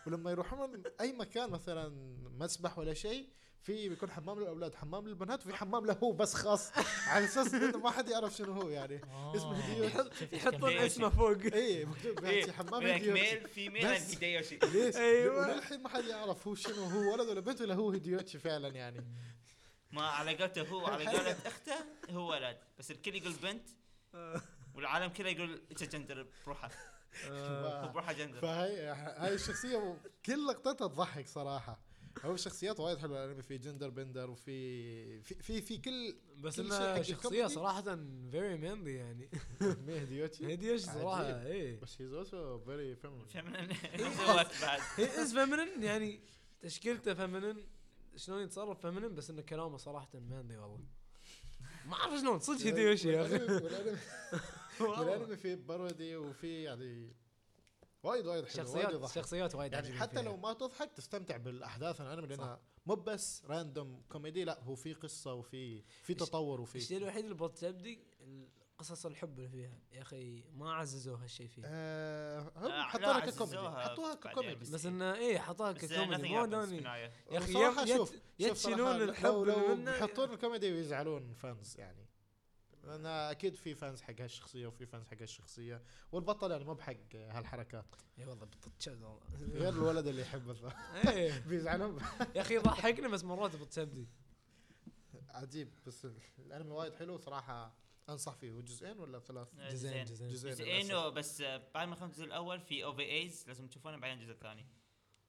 Speaker 1: ولما يروحون اي مكان مثلا مسبح ولا شيء في بيكون حمام للاولاد حمام للبنات وفي حمام له هو بس خاص على اساس انه ما حد يعرف شنو هو يعني اسمه
Speaker 2: آه.
Speaker 1: هديوشي.
Speaker 2: شفت كم
Speaker 4: يحطون
Speaker 2: هديوشي.
Speaker 4: اسمه فوق
Speaker 1: اي مكتوب
Speaker 3: إيه، *laughs*
Speaker 1: بحكي حمام
Speaker 3: هناك
Speaker 1: هيديوتشي
Speaker 3: ميل فيميل
Speaker 1: بس.
Speaker 3: عند هيدايوشي
Speaker 1: ليش؟
Speaker 4: أيوة.
Speaker 1: وللحين ما حد يعرف هو شنو هو ولد ولا بنت ولا هو هيديوتشي فعلا يعني
Speaker 3: ما على قولته هو *laughs* على قولة اخته هو ولد بس الكل يقول *laughs* بنت والعالم كله يقول انت جندر *laughs* بروحه
Speaker 4: أه،
Speaker 1: آه.
Speaker 3: بروحه جندر
Speaker 1: فهي هاي الشخصيه كل لقطتها تضحك صراحه هو الشخصيات وايد حلوه الانمي في جندر بندر وفي في في, في كل *laughs*
Speaker 4: بس
Speaker 1: كل شيء حق
Speaker 4: انه شخصية
Speaker 1: الكوميدي.
Speaker 4: صراحة فيري مينلي يعني
Speaker 1: مي هديوتشي
Speaker 4: هديوش صراحة إيه.
Speaker 1: عجيب.
Speaker 4: اي
Speaker 1: بس هيز اولسو فيري فيمينين
Speaker 3: فمن *laughs* سواك بعد
Speaker 4: هي از فيمنن يعني تشكيلته فيمنن شلون يتصرف فيمنن بس انه كلامه صراحة مينلي والله ما اعرف شلون صدق هديوش يا اخي
Speaker 1: والانمي والأنمي في بارودي وفي يعني وايد وايد حلو وايد
Speaker 4: شخصيات
Speaker 1: يضحك
Speaker 4: شخصيات وايد
Speaker 1: يعني
Speaker 4: عجبني
Speaker 1: حتى
Speaker 4: فيها.
Speaker 1: لو ما تضحك تستمتع بالاحداث الانمي لانها مو بس راندوم كوميدي لا هو في قصه وفي في تطور
Speaker 4: الشيء
Speaker 1: وفي
Speaker 4: الوحيد اللي بتبدي قصص الحب اللي فيها يا اخي ما عززوا هالشيء فيه
Speaker 1: آه هم
Speaker 3: آه،
Speaker 1: حطوها
Speaker 3: لا،
Speaker 1: ككوميدي
Speaker 3: عززوها
Speaker 1: حطوها
Speaker 3: بعدين
Speaker 1: ككوميدي
Speaker 3: بس- إيه.
Speaker 4: بس انه ايه حطوها
Speaker 3: بس
Speaker 4: ككوميدي مو
Speaker 3: نوني
Speaker 4: دوني يا اخي
Speaker 1: صراحة
Speaker 4: يا- يا-
Speaker 1: شوف-
Speaker 4: يا
Speaker 1: شوف صراحة
Speaker 4: تشيلون
Speaker 1: لو-
Speaker 4: الحب
Speaker 1: لو
Speaker 4: اللي
Speaker 1: لو
Speaker 4: منه-
Speaker 1: يحطون الكوميدي ويزعلون فانز يعني لان اكيد في فانز حق هالشخصيه وفي فانز حق هالشخصيه والبطل يعني مو بحق هالحركات *laughs*
Speaker 4: اي إيه، والله بتتشد والله
Speaker 1: غير الولد اللي يحب *laughs* الظ-
Speaker 4: إيه.
Speaker 1: بيزعلهم
Speaker 4: يا اخي ضحكنا بس مرات بتبدي
Speaker 1: عجيب بس الانمي وايد حلو صراحه انصح فيه وجزئين ولا ثلاث
Speaker 3: آه،
Speaker 4: جزئين
Speaker 3: زين.
Speaker 4: جزئين
Speaker 1: جزئين للأسف.
Speaker 3: جزئين بس آه، بعد ما خلص الجزء الاول في او بي ايز لازم تشوفونه بعدين الجزء الثاني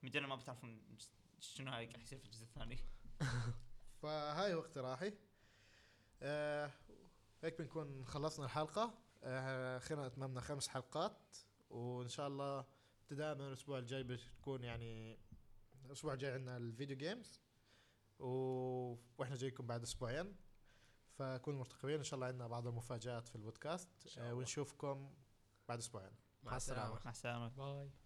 Speaker 3: مجرد ما بتعرفون شنو هاي راح يصير في الجزء الثاني
Speaker 1: فهاي هو اقتراحي آه هيك بنكون خلصنا الحلقة آه خلينا أتممنا خمس حلقات وإن شاء الله ابتداء من الأسبوع الجاي بتكون يعني الأسبوع الجاي عندنا الفيديو جيمز و... وإحنا جايكم بعد أسبوعين فكونوا مرتقبين إن شاء الله عندنا بعض المفاجآت في البودكاست
Speaker 4: شاء
Speaker 1: آه
Speaker 4: الله.
Speaker 1: ونشوفكم بعد أسبوعين
Speaker 4: مع السلامه
Speaker 3: مع السلامه
Speaker 2: باي